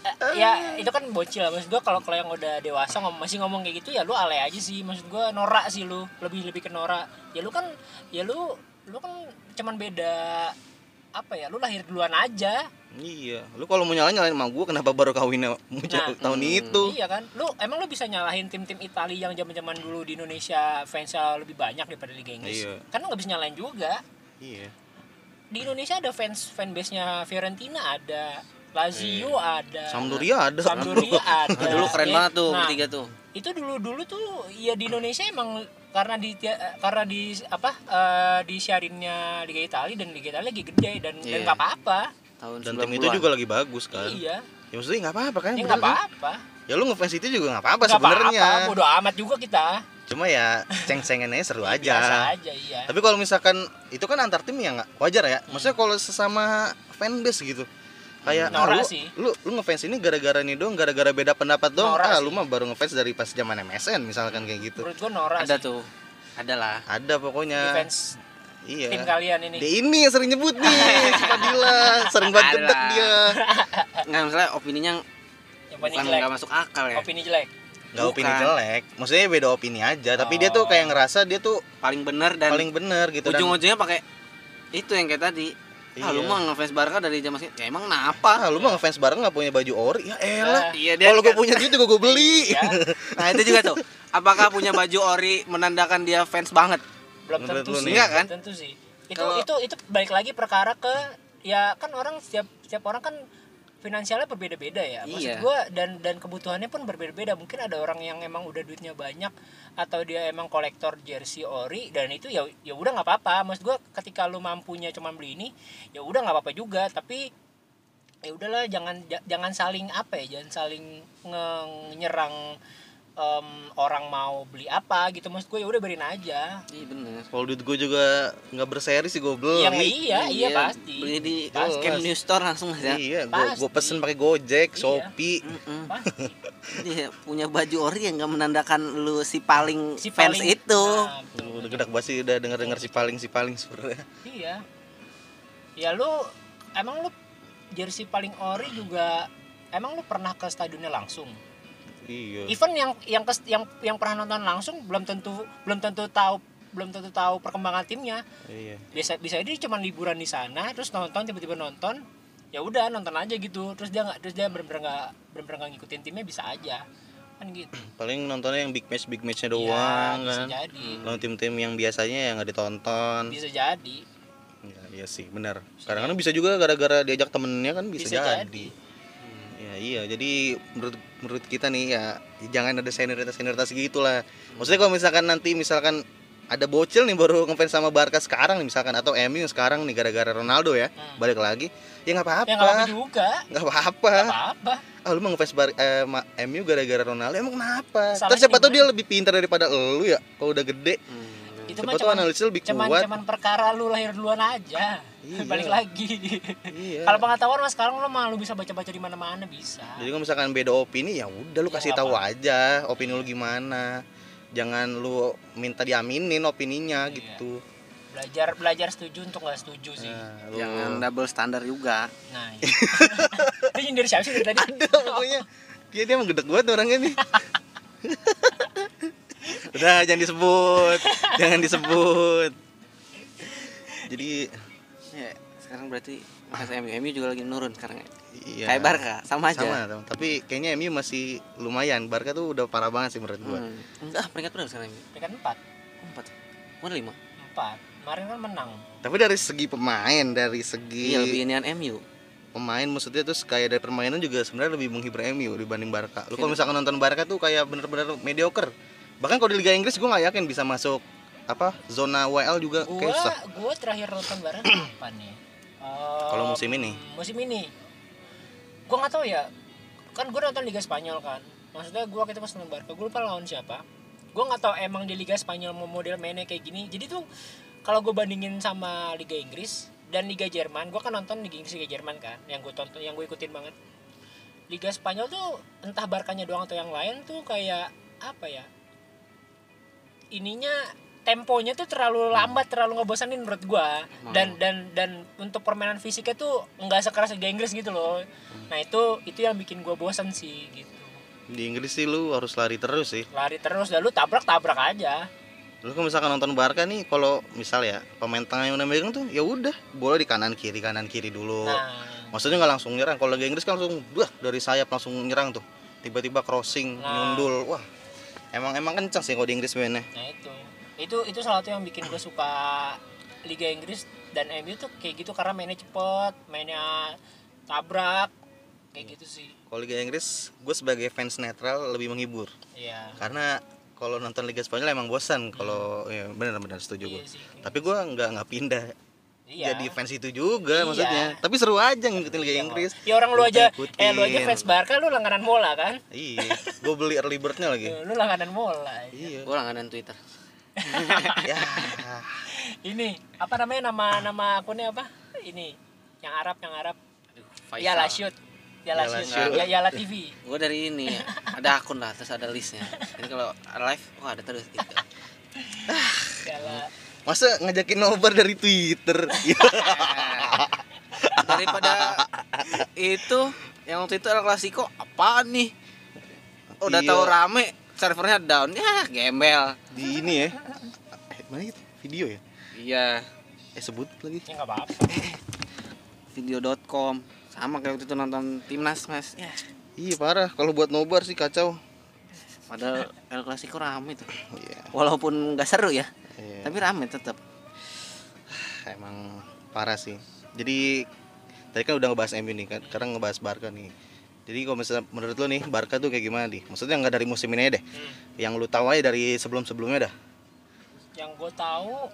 S3: eh, ya itu kan bocil lah maksud gue kalau kalau yang udah dewasa ngom- masih ngomong kayak gitu ya lu alay aja sih maksud gue norak sih lu lebih lebih ke norak ya lu kan ya lu lu kan cuman beda apa ya lu lahir duluan aja
S1: iya lu kalau mau nyalain nyalain sama gue kenapa baru kawinnya
S3: Nah,
S1: tahun itu
S3: iya kan lu emang lu bisa nyalahin tim-tim Italia yang zaman zaman dulu di Indonesia fansnya lebih banyak daripada Liga Inggris
S1: Iya.
S3: kan lu nggak bisa nyalain juga
S1: iya
S3: di Indonesia ada fans fanbase nya Fiorentina ada Lazio ada
S1: Iya. Sampdoria ada
S3: Sampdoria ada
S2: Dulu keren
S3: Ya,
S2: banget tuh
S3: nah,
S2: bertiga tuh.
S3: itu dulu dulu tuh ya di Indonesia emang karena di tia- karena di apa eh, di siarinnya Liga Italia dan Liga Italia lagi gede dan dan
S2: Iya.
S3: nggak apa-apa
S2: Tahun
S1: dan tim itu
S2: 90-an.
S1: juga lagi bagus kan
S3: iya
S1: ya maksudnya nggak apa-apa kan
S3: ini
S1: bener
S3: nggak
S1: kan?
S3: apa-apa
S1: ya lu ngefans itu juga nggak apa-apa
S3: nggak
S1: sebenarnya
S3: apa-apa bodo amat juga kita
S1: cuma ya ceng-cengannya seru
S3: biasa
S1: aja
S3: aja iya
S1: tapi kalau misalkan itu kan antar tim ya nggak wajar ya maksudnya
S3: Hmm.
S1: kalau sesama fanbase gitu kayak ah, lu,
S3: Norak sih.
S1: lu lu ngefans ini gara-gara ini doang gara-gara beda pendapat doang
S3: Norak
S1: ah
S3: sih.
S1: lu mah baru ngefans dari pas zaman MSN misalkan kayak gitu
S3: menurut gua norak
S2: ada
S3: sih.
S2: tuh. Ada lah.
S1: ada
S3: Ini
S1: pokoknya
S3: fans
S1: iya
S3: tim kalian ini
S1: dia ini yang sering nyebut nih si Fadila sering banget gedek
S2: Alah.
S1: dia
S2: Eh, Nggak misalnya opininya
S3: yang paling
S2: bukan
S3: jelek
S2: nggak masuk akal ya.
S3: opini jelek
S1: nggak opini
S2: Bukan.
S1: jelek maksudnya beda opini aja tapi dia tuh
S3: Oh.
S1: kayak ngerasa dia tuh
S2: Paling bener dan
S1: paling bener gitu dan-
S2: ujung-ujungnya pakai itu yang kayak tadi. Ah, lu
S1: Iya.
S2: mah ngefans Barca dari zaman segitu. Ya emang
S1: ah
S2: kenapa?
S1: lu mah ngefans bareng nggak punya baju ori ya elah
S3: Ah,
S2: Iya
S1: kalau gue
S2: kan-
S1: punya duit juga gue beli
S3: Iya.
S2: Nah, itu juga tuh. Apakah punya baju ori menandakan dia fans banget?
S3: belum
S1: Menurut
S3: tentu
S1: lu
S3: sih
S1: nih.
S2: Enggak kan?
S3: tentu sih itu
S2: Kalau-
S3: itu itu balik lagi perkara ke ya kan orang setiap setiap orang kan finansialnya berbeda-beda ya maksud
S2: Iya.
S3: gua dan dan kebutuhannya pun berbeda-beda mungkin ada orang yang emang udah duitnya banyak atau dia emang kolektor jersey ori dan itu ya ya udah nggak apa-apa maksud gua ketika lu mampunya cuma beli ini ya udah nggak apa-apa juga tapi ya udahlah jangan ja- jangan saling apa ya jangan saling nge- nyerang em, orang mau beli apa gitu maksud gue ya udah berin aja
S2: Iya bener.
S1: kalau duit gue juga nggak berseri sih gue beli
S3: yang iya iya pasti
S2: Beli di
S1: Jelas.
S2: Camp New Store langsung aja.
S1: iya gue gue
S3: Pasti.
S1: pesen pakai gojek
S3: Iya.
S1: shopee
S2: Mm-mm.
S3: Pasti.
S2: Iya, punya baju ori yang nggak menandakan lu si paling
S3: si
S2: fans
S3: paling-
S2: itu.
S3: Nah, betul.
S1: udah gedak basi udah denger denger si paling si paling sebenarnya
S3: iya ya lu emang lu jersey paling ori juga emang lu pernah ke stadionnya langsung
S1: iya
S3: even yang yang kes- yang yang pernah nonton langsung belum tentu belum tentu tahu belum tentu tahu perkembangan timnya
S1: iya
S3: biasa bisa dia cuma liburan di sana terus nonton tiba-tiba nonton ya udah nonton aja gitu terus dia nggak terus dia bener-bener nggak bener-bener nggak ngikutin timnya bisa aja kan gitu
S1: paling nontonnya yang big match big matchnya
S3: Iya,
S1: doang
S3: bisa
S1: kan Hmm.
S3: jadi
S1: lawan tim-tim yang biasanya yang nggak ditonton
S3: bisa jadi
S1: ya, iya sih benar kadang-kadang bisa juga gara-gara diajak temennya kan bisa,
S3: Bisa
S1: jadi,
S3: jadi.
S1: Ya, iya jadi menurut menurut kita nih ya jangan ada senioritas senioritas gitulah maksudnya kalau misalkan nanti misalkan ada bocil nih baru ngefans sama Barca sekarang nih misalkan atau MU sekarang nih gara-gara Ronaldo ya
S3: Hmm.
S1: balik lagi ya nggak
S3: ya nggak apa
S1: apa-apa
S3: juga
S1: nggak apa-apa
S3: nggak apa-apa
S1: ah lu mau ngefans Bar- eh, ma- MU gara-gara Ronaldo emang kenapa
S3: Salahnya
S1: terus siapa
S3: di
S1: tau
S3: mana?
S1: dia lebih pintar daripada lu ya kalau udah gede
S2: Hmm.
S3: itu mah
S1: siapa tau
S3: cuman
S1: analisis lebih
S3: cuman
S1: kuat
S3: cuman perkara lu lahir duluan aja
S1: Iya.
S3: balik lagi
S1: iya.
S3: kalau pengetahuan mah sekarang lu mah lu bisa baca baca di mana mana bisa
S1: Jadi kalau misalkan beda opini ya udah lu
S3: Ya,
S1: kasih
S3: nggak
S1: tahu aja opini lu gimana. jangan lu minta diaminin opininya
S3: Iya.
S1: gitu
S3: belajar belajar setuju untuk nggak setuju sih
S1: Nah, lu-
S2: Jangan double standar juga.
S3: nah iya. itu nyindir siapa sih dari tadi
S1: ada pokoknya dia dia menggedek banget orangnya nih udah jangan disebut jangan disebut jadi
S2: Ya, sekarang berarti Mas MU MU juga lagi menurun sekarang. ya?
S1: iya
S2: Kayak Barca, sama aja.
S1: sama sama. tapi kayaknya MU masih lumayan Barca tuh udah parah banget sih menurut gua
S2: Hmm. Enggak, peringkat berapa sekarang MU?
S3: peringkat kan empat
S2: Empat. Bukan lima.
S3: empat kemarin kan menang
S1: tapi dari segi pemain dari segi
S2: Iya, lebih inian MU.
S1: pemain maksudnya terus kayak dari permainan juga sebenarnya lebih menghibur MU dibanding Barca. Lu
S3: Iya.
S1: kalau misalkan nonton Barca tuh kayak bener-bener mediocre. Bahkan kalau di Liga Inggris gue nggak yakin bisa masuk apa zona WL juga kayak
S3: gua
S1: susah.
S3: gua terakhir nonton bareng kapan nih
S1: Kalau
S3: Em,
S1: musim ini?
S3: musim ini gua nggak tahu ya kan gua nonton Liga Spanyol kan maksudnya gua kita pas nonton Barca gua lupa lawan siapa gua nggak tahu emang di Liga Spanyol mau model mainnya kayak gini jadi tuh kalau gua bandingin sama Liga Inggris dan Liga Jerman gua kan nonton Liga Inggris Liga Jerman kan yang gua tonton yang gua ikutin banget Liga Spanyol tuh entah Barkanya doang atau yang lain tuh kayak apa ya ininya temponya tuh terlalu lambat terlalu ngebosanin menurut gua dan dan dan untuk permainan fisiknya tuh nggak sekeras Liga Inggris gitu loh nah itu itu yang bikin gua bosan sih gitu
S1: Di Inggris sih lu harus lari terus sih.
S3: lari terus dan lu tabrak tabrak aja
S1: Lu kalau misalkan nonton Barca nih kalau misal ya pemain tengah yang udah megang tuh ya udah bola di kanan kiri kanan kiri dulu.
S3: nah
S1: Maksudnya nggak langsung nyerang. Kalau Liga Inggris kan langsung wah dari sayap langsung nyerang tuh. Tiba-tiba crossing,
S3: Nah.
S1: nyundul. Wah. Emang emang kencang sih kalau di Inggris mainnya.
S3: nah itu itu itu salah satu yang bikin gue suka Liga Inggris dan MU tuh kayak gitu karena mainnya cepet mainnya tabrak kayak gitu sih
S1: Kalau Liga Inggris, gue sebagai fans netral lebih menghibur.
S3: ya
S1: karena kalau nonton Liga Spanyol emang bosan kalau ya, benar-benar setuju
S3: iya
S1: gue.
S3: sih
S1: Tapi gue nggak nggak pindah
S3: iya.
S1: jadi fans itu juga
S3: Iya.
S1: maksudnya. Tapi seru aja ngikutin Liga Inggris.
S3: ya orang lu aja
S1: Ikutin.
S3: eh lu aja fans Barca lu langganan bola kan
S1: Iya, gue beli early birdnya lagi.
S3: lu langganan bola
S1: Iya.
S2: Gue langganan Twitter.
S1: ya,
S3: ini apa namanya nama nama akunnya apa ini yang Arab yang Arab
S2: Aduh,
S3: ya lah shoot ya lah
S1: Yala
S3: shoot
S1: Shoot.
S3: ya Yala TV
S2: Gue dari ini ya. ada akun lah, terus ada listnya. Jadi kalau live, oh ada terus gitu.
S3: Yala
S1: masa ngajakin nobar dari Twitter? Ya.
S2: Daripada itu yang waktu itu El Clasico apaan nih? Udah
S1: Iya.
S2: tahu rame, servernya down. Ya, gembel.
S1: Di ini ya. Eh, mana itu? Video ya?
S2: Iya,
S1: Eh sebut lagi.
S3: ya nggak apa-apa
S2: video.com. Sama kayak waktu itu nonton Timnas, Mas. Ya,
S1: Iya parah. Kalau buat nobar sih kacau.
S2: padahal El Clasico rame tuh.
S1: Iya.
S2: Walaupun nggak seru ya,
S1: iya.
S2: tapi rame tetap.
S1: emang parah sih jadi tadi kan udah ngebahas MU nih kan sekarang ngebahas Barca nih jadi kalau misalnya menurut lo nih Barca tuh kayak gimana nih maksudnya nggak dari musim ini aja deh
S2: Hmm.
S1: yang lu tahu aja dari sebelum sebelumnya dah
S3: yang gue tahu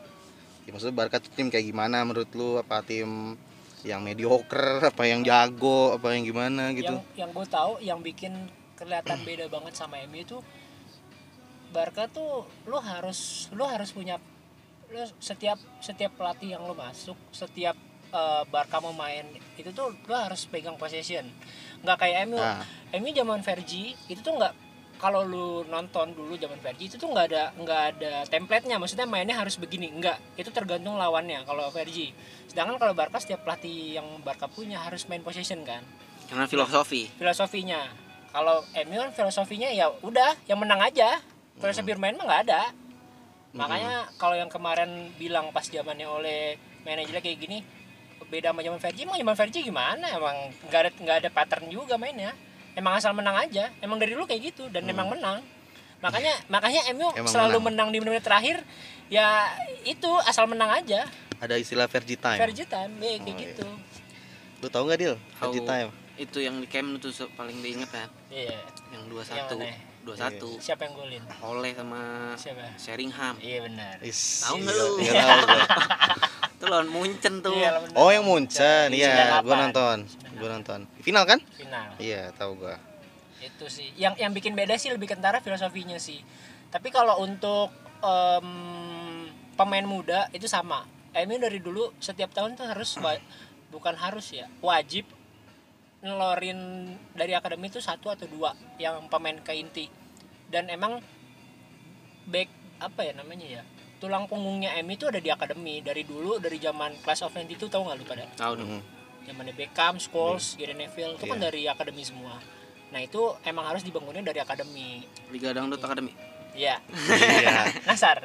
S1: ya, maksudnya Barca tuh tim kayak gimana menurut lu apa tim yang mediocre apa yang jago apa yang gimana gitu
S3: yang yang gue tahu yang bikin kelihatan beda banget sama MU itu Barca tuh lu harus lu harus punya lu setiap setiap pelatih yang lu masuk setiap eh, Barca mau main itu tuh lu harus pegang possession nggak kayak MU
S1: nah
S3: MU zaman Fergie itu tuh nggak kalau lu nonton dulu zaman Fergie itu tuh nggak ada nggak ada template-nya maksudnya mainnya harus begini nggak itu tergantung lawannya kalau Fergie sedangkan kalau Barca setiap pelatih yang Barca punya harus main possession kan
S2: Jangan filosofi.
S3: filosofinya kalau MU kan filosofinya ya udah yang menang aja filosofi
S1: Hmm.
S3: bermain mah nggak ada makanya kalau yang kemarin bilang pas zamannya oleh manajernya kayak gini beda sama zaman Fergie emang zaman Fergie gimana emang nggak ada nggak ada pattern juga mainnya emang asal menang aja emang dari dulu kayak gitu dan emang menang makanya makanya MU
S1: Hmm. Emang
S3: selalu menang, di menit-menit terakhir ya itu asal menang aja
S1: ada istilah Fergie time
S3: Fergie time ya, kayak
S1: Oh, iya.
S3: gitu
S1: lu tahu nggak Dil
S2: Tahu.
S1: Fergie time
S2: Itu yang di camp tuh se- paling diinget kan,
S3: iya
S2: yang 21.
S3: Yang
S2: 21.
S3: siapa yang golin
S2: Oleh sama
S3: siapa
S2: Sheringham.
S3: iya benar
S1: Is,
S2: Tahu nggak
S1: iya,
S2: lu?
S1: iya, tahu gua.
S2: Itu lawan Munchen tuh.
S3: Iya, lawan-
S1: oh yang Munchen
S3: Di
S1: iya
S3: 98.
S1: gua nonton gua nonton final kan
S3: Final.
S1: iya tahu gua
S3: Itu sih. Yang yang bikin beda sih lebih kentara filosofinya sih. Tapi kalau untuk em, pemain muda itu sama. MU dari dulu setiap tahun tuh harus wa- bukan harus ya, wajib ngelorin dari akademi itu satu atau dua yang pemain ke inti. Dan emang back apa ya namanya ya tulang punggungnya M itu ada di akademi dari dulu dari zaman Class of 92 tau nggak lu pada
S2: Tahu dong.
S1: Mhm.
S3: zamannya Beckham, Scholes, Gary Neville itu kan
S1: Iya.
S3: dari akademi semua. Nah itu emang harus dibangunnya dari akademi.
S2: Liga Dangdut Academy.
S3: Iya,
S1: Iya.
S3: nasar.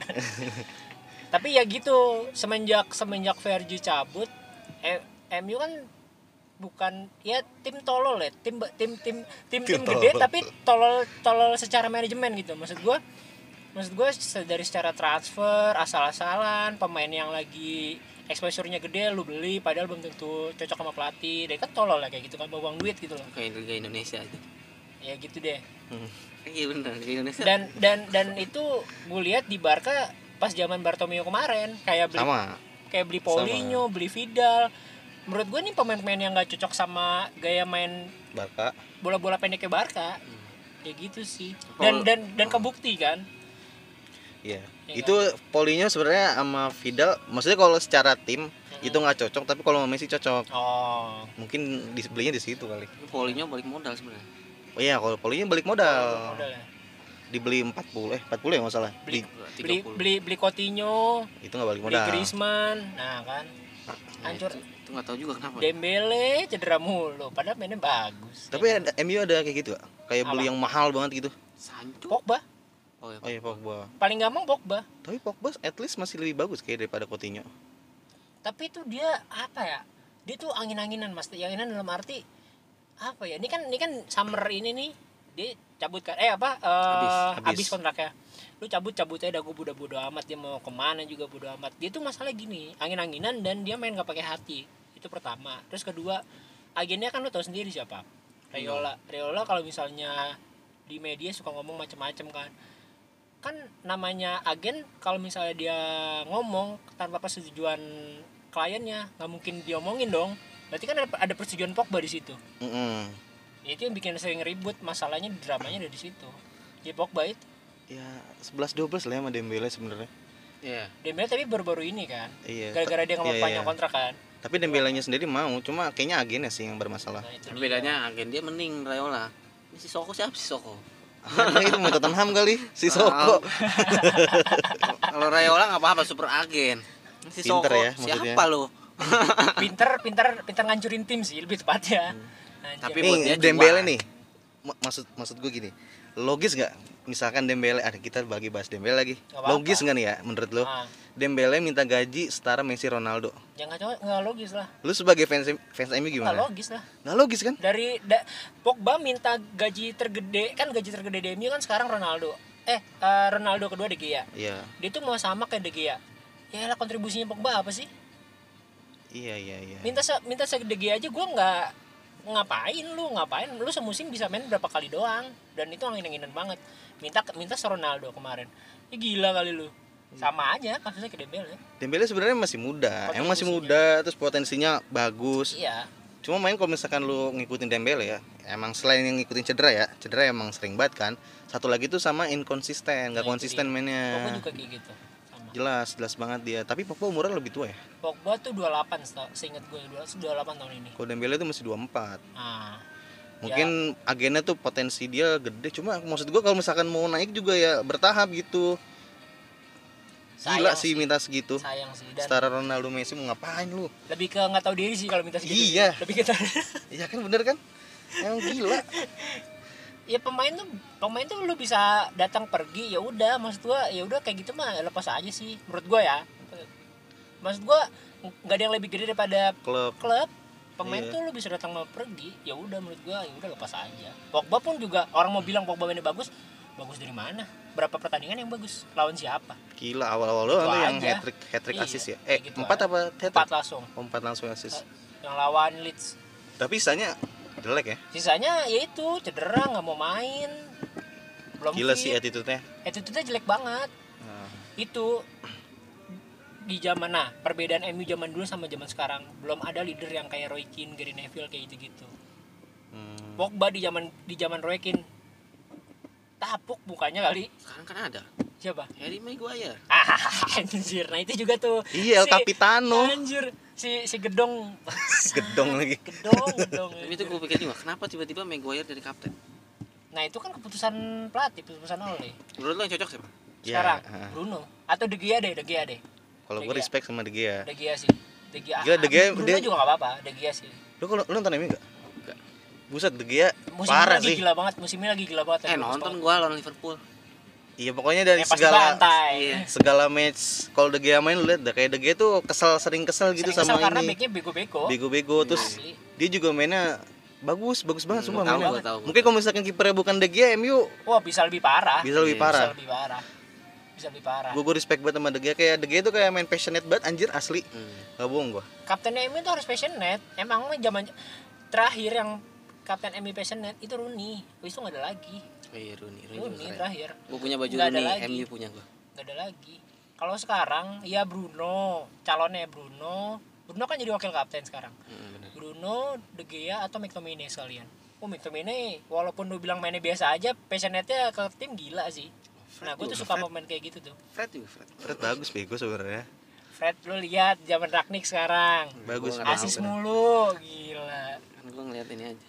S3: Tapi ya gitu semenjak semenjak Vergi cabut, eh, MU kan bukan ya tim tolol ya tim tim tim tim tim
S1: Tim
S3: gede
S1: tolol.
S3: tapi tolol tolol secara manajemen gitu maksud gua maksud gua se- dari secara transfer asal-asalan pemain yang lagi exposure-nya gede lu beli padahal belum tentu cocok sama pelatih dia kan tolol lah kayak gitu kan buang duit gitu loh
S2: Kayak Liga Indonesia aja.
S3: ya gitu deh
S2: Iya benar, Liga Indonesia.
S3: dan dan dan itu gue lihat di Barca pas zaman Bartomeu kemarin kayak beli
S1: Sama.
S3: kayak beli Paulinho, beli Vidal. Menurut gue nih pemain-pemain yang nggak cocok sama gaya main
S1: Barca.
S3: bola-bola pendeknya Barca. Kayak gitu sih.
S2: Paul-
S3: Dan dan dan kebukti kan.
S1: Iya.
S3: Iya
S1: Itu Polinho sebenarnya sama Vidal, maksudnya kalau secara tim itu nggak cocok, tapi kalau sama Messi cocok.
S3: Oh.
S1: Mungkin disebelinya di situ kali.
S2: Polinya balik modal sebenarnya.
S1: Oh iya, kalau Polinho balik modal.
S3: Udah lah.
S1: Dibeli 40 eh 40 ya nggak salah.
S3: Beli-
S1: Di-
S3: Beli
S2: 30.
S3: beli beli Coutinho,
S1: itu nggak balik
S3: beli
S1: modal.
S3: Griezmann. Nah, kan.
S2: Nah,
S3: Hancur.
S2: itu- Itu nggak tahu juga kenapa.
S3: Dembele cedera mulu, padahal mainnya bagus.
S1: Tapi ada, MU ada kayak gitu nggak? Kayak beli
S3: Apa?
S1: yang mahal banget gitu.
S2: Sancho.
S3: Pogba
S2: Oh iya.
S1: Oh iya Pogba.
S3: paling gampang Pogba.
S1: Tapi Pogba at least masih lebih bagus kayak daripada Coutinho.
S3: tapi itu dia apa ya dia tuh angin-anginan mas anginan dalam arti apa ya ini kan ini kan summer ini nih dia cabut kan eh apa eh,
S2: Habis,
S1: habis.
S3: habis kontraknya lu cabut cabut aja dah gue bodo bodo amat dia mau kemana juga bodo amat dia tuh masalah gini angin-anginan dan dia main gak pakai hati itu pertama terus kedua agennya kan lu tahu sendiri siapa Rayola
S1: Iya.
S3: Rayola kalau misalnya di media suka ngomong macem-macem kan kan namanya agen kalau misalnya dia ngomong tanpa persetujuan kliennya nggak mungkin diomongin dong berarti kan ada, ada persetujuan Pogba di situ
S1: Mm-mm.
S3: Ya, itu yang bikin sering ribut masalahnya dramanya ada di situ ya Pogba itu
S1: Ya 11 12 lah ya sama Dembele sebenarnya.
S2: Iya.
S3: Dembele tapi baru-baru ini kan
S1: Iya.
S3: gara-gara dia nggak mau
S1: Iya,
S3: panjang
S1: iya.
S3: kontrak kan
S1: Tapi Dembelenya sendiri mau, cuma kayaknya agennya sih yang bermasalah.
S3: nah, itu
S2: Tapi
S3: dia.
S2: bedanya agen dia mending Rayola. Ini si Soko siapa si Soko?
S1: Aneh Ya, itu mau Tottenham kali, si Soko.
S3: Ah.
S2: Kalau Rayola nggak apa-apa super agen. Ini Si Soko
S1: Pinter ya, maksudnya.
S2: siapa lu?
S3: pinter pinter pinter ngancurin tim sih lebih tepatnya
S1: Hmm.
S3: Anjing.
S2: Tapi buat dia
S1: Nih
S2: cuan.
S1: Dembele nih. Ma- maksud maksud gue gini. Logis nggak? Misalkan Dembele ada kita bagi bahas Dembele lagi.
S3: Nggak apa-apa.
S1: Logis nggak nih ya menurut lo?
S3: Ah,
S1: Dembele minta gaji setara Messi Ronaldo.
S3: jangan coba nggak logis lah
S1: Lu sebagai fans fans MU
S3: nggak
S1: gimana?
S3: logis lah
S1: Nggak logis kan?
S3: dari da- Pogba minta gaji tergede kan gaji tergede di MU kan sekarang Ronaldo eh eh, Ronaldo kedua De Gea
S1: Iya.
S3: dia tuh mau sama kayak De Gea ya lah kontribusinya Pogba apa sih
S1: Iya iya iya.
S3: minta se minta se De Gea aja gue nggak ngapain lu ngapain lu semusim bisa main berapa kali doang dan itu angin-anginan banget minta minta se Ronaldo kemarin ya gila kali lu sama aja kasusnya ke Dembele
S1: Dembele sebenarnya masih muda.
S3: Kontribusinya.
S1: Emang masih muda, terus potensinya bagus.
S3: iya
S1: Cuma main kalau misalkan lu ngikutin Dembele ya, emang selain yang ngikutin cedera ya, cedera emang sering banget kan. Satu lagi tuh sama inkonsisten, nggak
S3: Nah, itu
S1: konsisten
S3: dia. Pogba
S1: mainnya.
S3: juga kayak gitu sama
S1: Jelas, jelas banget dia. Tapi Pogba umurnya lebih tua ya.
S3: Pogba tuh 28 seta- seingat ya, gue 28 tahun ini
S1: Kalau Dembele tuh masih 24.
S3: nah
S1: Mungkin agennya tuh potensi dia gede, cuma maksud gua kalau misalkan mau naik juga ya bertahap gitu. Gila
S3: sayang
S1: sih minta segitu.
S3: sayang sih dan
S1: Setara Ronaldo Messi mau ngapain lu?
S3: lebih ke nggak tahu diri sih kalau minta segitu
S1: Iya.
S3: lebih ke
S1: Iya kan bener kan? Emang gila.
S3: ya pemain tuh pemain tuh lu bisa datang pergi ya udah maksud gua ya udah kayak gitu mah lepas aja sih menurut gua ya maksud gua nggak ada yang lebih gede daripada
S1: Klub
S3: klub pemain
S1: Iya.
S3: tuh lu bisa datang mau pergi ya udah menurut gua ya udah lepas aja Pogba pun juga orang mau bilang Pogba mainnya bagus bagus dari mana berapa pertandingan yang bagus lawan siapa
S1: gila awal-awal doang
S3: Itu
S1: tuh yang
S3: aja.
S1: hat trick hat trick
S3: Iya,
S1: assist ya. Eh,
S3: kayak gitu
S1: empat
S3: aja.
S1: apa hat
S3: empat
S1: trick?
S3: langsung
S1: Oh, Empat langsung assist.
S3: yang lawan Leeds
S1: Tapi sisanya jelek ya.
S3: sisanya ya itu cedera nggak mau main belum
S1: Gila sih
S3: fit.
S1: attitude-nya. Ah,
S3: attitude-nya jelek banget itu di zaman nah perbedaan MU zaman dulu sama zaman sekarang belum ada leader yang kayak Roy Keane, Gary Neville kayak gitu gitu.
S1: Hmm.
S3: Pogba di zaman di zaman Roy Keane tapuk mukanya kali
S2: Sekarang kan ada
S3: siapa?
S2: Harry Maguire.
S3: Ah, anjir. Nah itu juga tuh.
S1: Iya, El
S3: Si-
S1: Capitano.
S3: Anjir, si si Gedong.
S1: Gedong lagi.
S3: gedong, gedong.
S2: Tapi itu gue pikir juga kenapa tiba-tiba Maguire jadi kapten?
S3: Nah, itu kan keputusan pelatih, keputusan Ole.
S2: Menurut lo yang cocok siapa?
S1: Iya,
S3: sekarang
S1: heeh.
S3: Bruno atau De Gea deh De Gea deh
S1: Kalau
S3: De
S1: gue
S3: Gea.
S1: respect sama De Gea.
S3: De Gea sih De Gea,
S1: Gila, De Gea,
S3: Bruno
S1: dia-
S3: juga gak apa-apa De Gea sih
S1: Lu kalau lu nonton MU enggak? Buset De Gea
S3: musim
S1: parah
S3: lagi
S1: sih.
S3: gila banget musimnya lagi gila banget
S2: eh nonton gua lawan Liverpool
S1: Iya pokoknya dari
S3: ya, pasti
S1: segala
S3: bantai
S2: Iya.
S1: segala match kalau De Gea main lu lihat dah, kayak De Gea tuh kesel sering kesel gitu
S3: Sering kesel
S1: sama
S3: karena Iya,
S1: ini.
S3: backnya bego-bego
S1: Bego-bego terus
S3: Asli.
S1: dia juga mainnya bagus bagus banget sumpah
S2: Hmm, gua tahu,
S1: mainnya.
S2: gua tahu, gua
S1: Mungkin kalau misalkan kipernya bukan De Gea MU
S3: wah bisa lebih parah
S1: bisa lebih
S2: Iya.
S1: parah.
S3: bisa lebih parah bisa lebih parah
S1: Gue gue respect banget sama De Gea kayak De Gea tuh kayak main passionate banget anjir asli.
S3: Hmm.
S1: Gak bohong gua.
S3: kaptennya MU itu harus passionate emang mah zaman terakhir yang kapten MU passionate itu Rooney Habis itu nggak ada lagi
S2: Oh iya Rooney, Rooney juga
S3: Rooney
S2: keren.
S3: terakhir
S2: Gua punya baju
S3: Nggak ada
S2: Rooney,
S3: lagi.
S2: MU punya gua.
S3: nggak ada lagi kalau sekarang ya Bruno calonnya Bruno Bruno kan jadi wakil kapten sekarang
S2: Hmm, bener.
S3: Bruno De Gea atau McTominay sekalian oh McTominay walaupun lu bilang mainnya biasa aja passionate-nya ke tim gila sih nah gue tuh suka pemain kayak gitu tuh
S2: Fred juga Fred.
S1: Fred bagus bego sebenarnya.
S3: Fred lu lihat zaman Ragnik sekarang
S1: Bagus.
S2: Gua nggak
S1: bagus.
S3: asis mulu
S1: Nah.
S3: gila
S2: Kan gua ngeliat ini aja.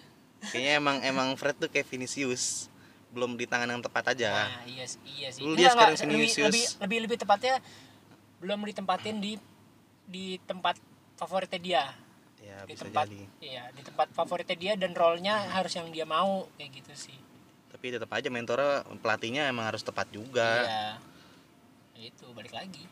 S1: Kayaknya emang emang Fred tuh kayak Vinicius belum di tangan yang tepat aja.
S3: Nah, iya, sih- iya sih.
S1: Lu
S3: Enggak,
S1: lihat sekarang
S3: enggak, lebih,
S1: Vinicius.
S3: lebih, lebih, lebih tepatnya belum ditempatin di di tempat favoritnya dia.
S1: Ya
S3: Di
S1: bisa
S3: tempat
S1: jadi. Hmm.
S3: iya, di tempat favoritnya dia dan role-nya harus yang dia mau kayak gitu sih.
S1: Tapi tetap aja mentornya pelatihnya emang harus tepat juga.
S3: Iya. Ya itu balik lagi.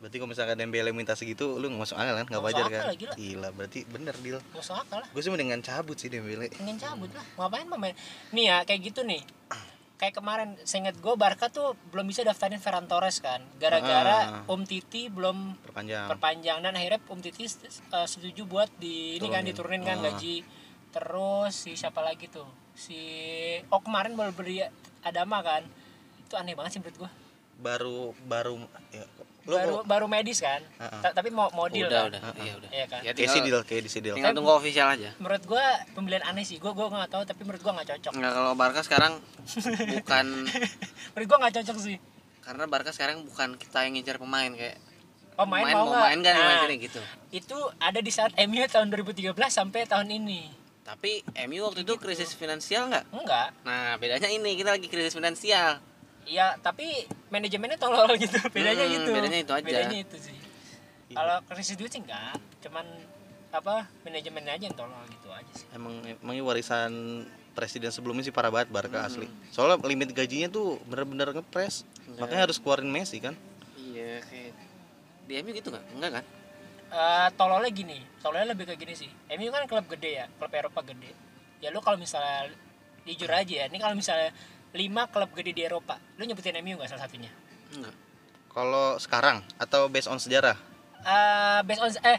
S1: Berarti kalau misalkan Dembele minta segitu lu nggak masuk akal kan? Nggak
S3: Nggak masuk
S1: wajar
S3: akal
S1: kan?
S3: lah, gila.
S1: Gila, berarti bener deal.
S3: Gak usah akal lah.
S1: Gue sih mendingan cabut sih Dembele.
S3: Pengen cabut lah. Ngapain pemain? Nih ya, kayak gitu nih. Kayak kemarin, seinget gue Barca tuh belum bisa daftarin Ferran Torres kan. Gara-gara
S1: Ah.
S3: Om Titi belum
S1: Perpanjang.
S3: perpanjang dan akhirnya Om Titi uh, setuju buat di ini kan
S1: Turunin.
S3: diturunin kan
S1: Ah.
S3: gaji terus si siapa lagi tuh si oh kemarin baru beri Adama kan itu aneh banget sih menurut gua
S1: Baru baru ya, lu
S3: baru
S1: mau-
S3: baru medis kan
S1: Ah, ah.
S3: Ta- tapi mau mau deal
S2: Udah,
S3: kan?
S2: udah. Iya, udah.
S3: Iya kan?
S2: Ya,
S1: kayak si deal,
S2: tinggal,
S1: kayak si deal.
S2: tinggal tunggu official aja.
S3: menurut gua pembelian aneh sih gua gua nggak tahu tapi menurut gua nggak
S1: Hmm.
S3: cocok
S2: Enggak kalau Barca sekarang bukan
S3: menurut gua nggak cocok sih
S2: karena Barca sekarang bukan kita yang ngincar pemain kayak
S3: pemain
S2: pemain mau
S3: Oh, mau nggak
S2: Oh, main kan nah.
S3: Nah,
S2: gitu.
S3: itu ada di saat MU tahun 2013 sampai tahun ini
S2: Tapi MU waktu itu krisis finansial nggak?
S3: enggak
S2: Nah, bedanya ini kita lagi krisis finansial.
S3: ya tapi manajemennya tolol gitu bedanya
S2: Hmm,
S3: gitu
S2: bedanya itu aja.
S3: bedanya itu sih kalau krisis duit sih enggak cuman apa manajemennya aja yang tolol gitu aja sih
S1: Emang emangnya warisan presiden sebelumnya sih parah banget
S3: Hmm.
S1: Barca asli. Soalnya limit gajinya tuh bener-bener ngepres.
S3: Iya.
S1: Makanya harus keluarin Messi kan.
S2: Iya, kayak di MU gitu nggak? Enggak kan?
S3: Eh tololnya gini tololnya lebih ke gini sih MU kan klub gede ya klub Eropa gede ya lu kalau misalnya jujur aja ya ini kalau misalnya lima klub gede di Eropa lu nyebutin MU nggak salah satunya
S2: Enggak.
S1: Kalau sekarang atau based on sejarah
S3: Eh based on eh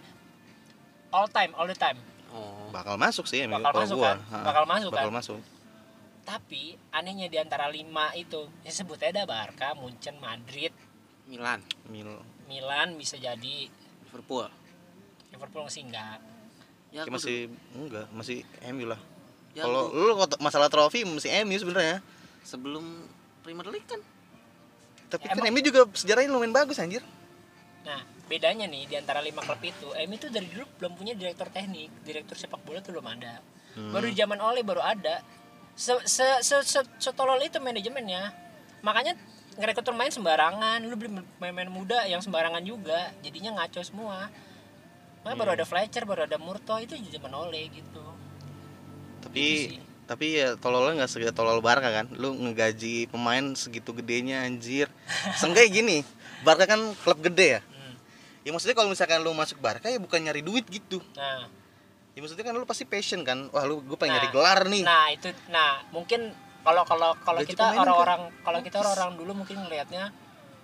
S3: all time all the time
S2: Oh.
S1: bakal masuk sih MU
S3: Bakal
S1: kalau
S3: masuk
S1: gua.
S3: kan?
S1: Ha-ha.
S3: Bakal masuk
S1: bakal
S3: kan?
S1: masuk.
S3: tapi anehnya di antara lima itu ya sebut aja ada Barca, Munchen, Madrid,
S2: Milan,
S1: Mil.
S3: Milan bisa jadi
S2: Liverpool.
S3: Liverpool sih enggak
S1: Kayak
S2: Ya, aku
S1: masih enggak, masih MU lah.
S2: Ya,
S1: Kalau lu kok- masalah trofi masih MU sebenarnya.
S2: dulu- sebelum Premier League kan
S1: Tapi
S3: Ya,
S1: kan MU juga sejarahnya lumayan bagus anjir.
S3: nah bedanya nih di antara lima klub itu MU tuh dari dulu belum punya direktur teknik direktur sepak bola tuh belum ada baru di zaman Ole baru ada se se se, se- setolol itu manajemennya makanya ngerekrut pemain sembarangan lu beli pemain-pemain muda yang sembarangan juga jadinya ngaco semua Makanya baru ada Fletcher, baru ada Murto itu di zaman Ole gitu.
S1: Tapi
S3: Itu sih.
S1: tapi ya tololnya nggak segede tolol Barca kan. Lu ngegaji pemain segitu gedenya anjir. Seenggaknya gini, Barca kan klub gede ya.
S3: Hmm.
S1: Ya maksudnya kalau misalkan lu masuk Barca ya bukan nyari duit gitu.
S3: Nah,
S1: Ya maksudnya kan lu pasti passion kan. Wah, lu gue pengen
S3: Nah,
S1: nyari gelar nih.
S3: Nah itu, nah mungkin kalau kalau kalau
S1: Gaji
S3: kita
S1: pemain
S3: orang-orang kalau kita orang-orang dulu mungkin ngelihatnya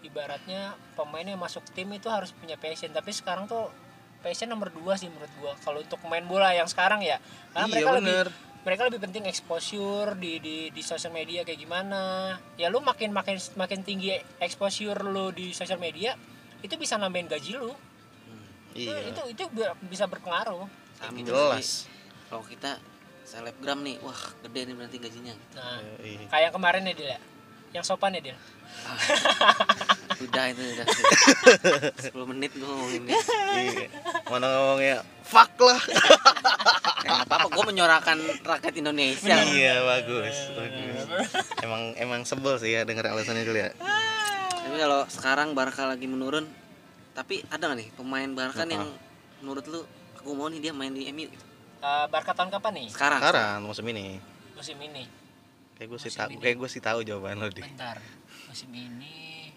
S3: ibaratnya pemain yang masuk tim itu harus punya passion tapi sekarang tuh passion nomor dua sih menurut gua kalau untuk main bola yang sekarang ya karena
S1: Iya,
S3: mereka
S1: bener.
S3: lebih mereka lebih penting exposure di di di sosial media kayak gimana ya lu makin makin makin tinggi exposure lu di sosial media itu bisa nambahin gaji lu Itu-
S1: iya.
S3: itu itu bi- bisa berpengaruh
S1: Jelas.
S2: sama gitu. Jadi, Kalau kita selebgram nih, wah gede nih berarti gajinya.
S3: nah
S1: Iya, iya.
S3: kayak kemarin ya Dil ya? yang sopan ya Dil
S2: Udah itu udah. 10 menit gue ngomongin ini.
S1: Iya. Mana ngomongnya fuck lah.
S2: Eh, apa-apa, gue menyorakan rakyat Indonesia. iya, Nah.
S1: iya, bagus. bagus. Emang emang sebel sih ya denger alasannya dulu ya.
S2: tapi kalau sekarang Barca lagi menurun tapi ada nggak nih pemain Barca
S1: Apa?
S2: yang menurut lu aku mau nih dia main di MU gitu.
S3: Eh, Barca tahun kapan nih
S2: sekarang
S1: Sekarang musim ini.
S3: musim ini
S1: Kayak gue sih
S3: Musim
S1: tahu,
S3: ini.
S1: kayak gue sih tahu jawaban lo deh.
S3: bentar musim ini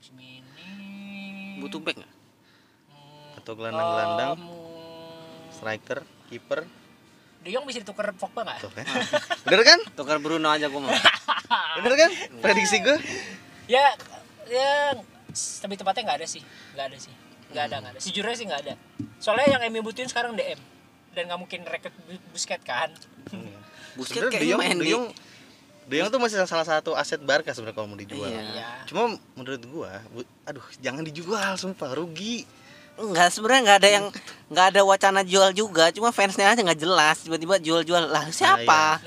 S3: musim ini
S2: butuh back nggak
S3: Hmm,
S1: Atau gelandang-gelandang.
S2: Oh.
S3: em,
S1: Striker, kiper,
S3: De Jong bisa ditukar Pogba nggak
S1: tuh kan. Bener kan?
S2: tukar Bruno aja gua mau
S1: Bener kan? Prediksi gue.
S3: ya ya s- lebih tepatnya nggak ada sih nggak ada sih nggak ada nggak ada sejujurnya sih nggak ada soalnya yang Emi butuhin sekarang DM dan nggak mungkin rekrut Bu- busket kan
S2: Busquets
S1: Sebenarnya De
S2: kayaknya
S1: Jong,
S2: main
S1: De
S2: di
S1: Jong, De Jong tuh masih salah satu aset Barca sebenarnya kalau mau dijual.
S2: Iya.
S3: ya
S1: Cuma menurut gua, bu- aduh jangan dijual sumpah rugi.
S2: Enggak sebenarnya nggak ada yang nggak ada wacana jual juga cuma fansnya aja nggak jelas tiba-tiba jual-jual lah siapa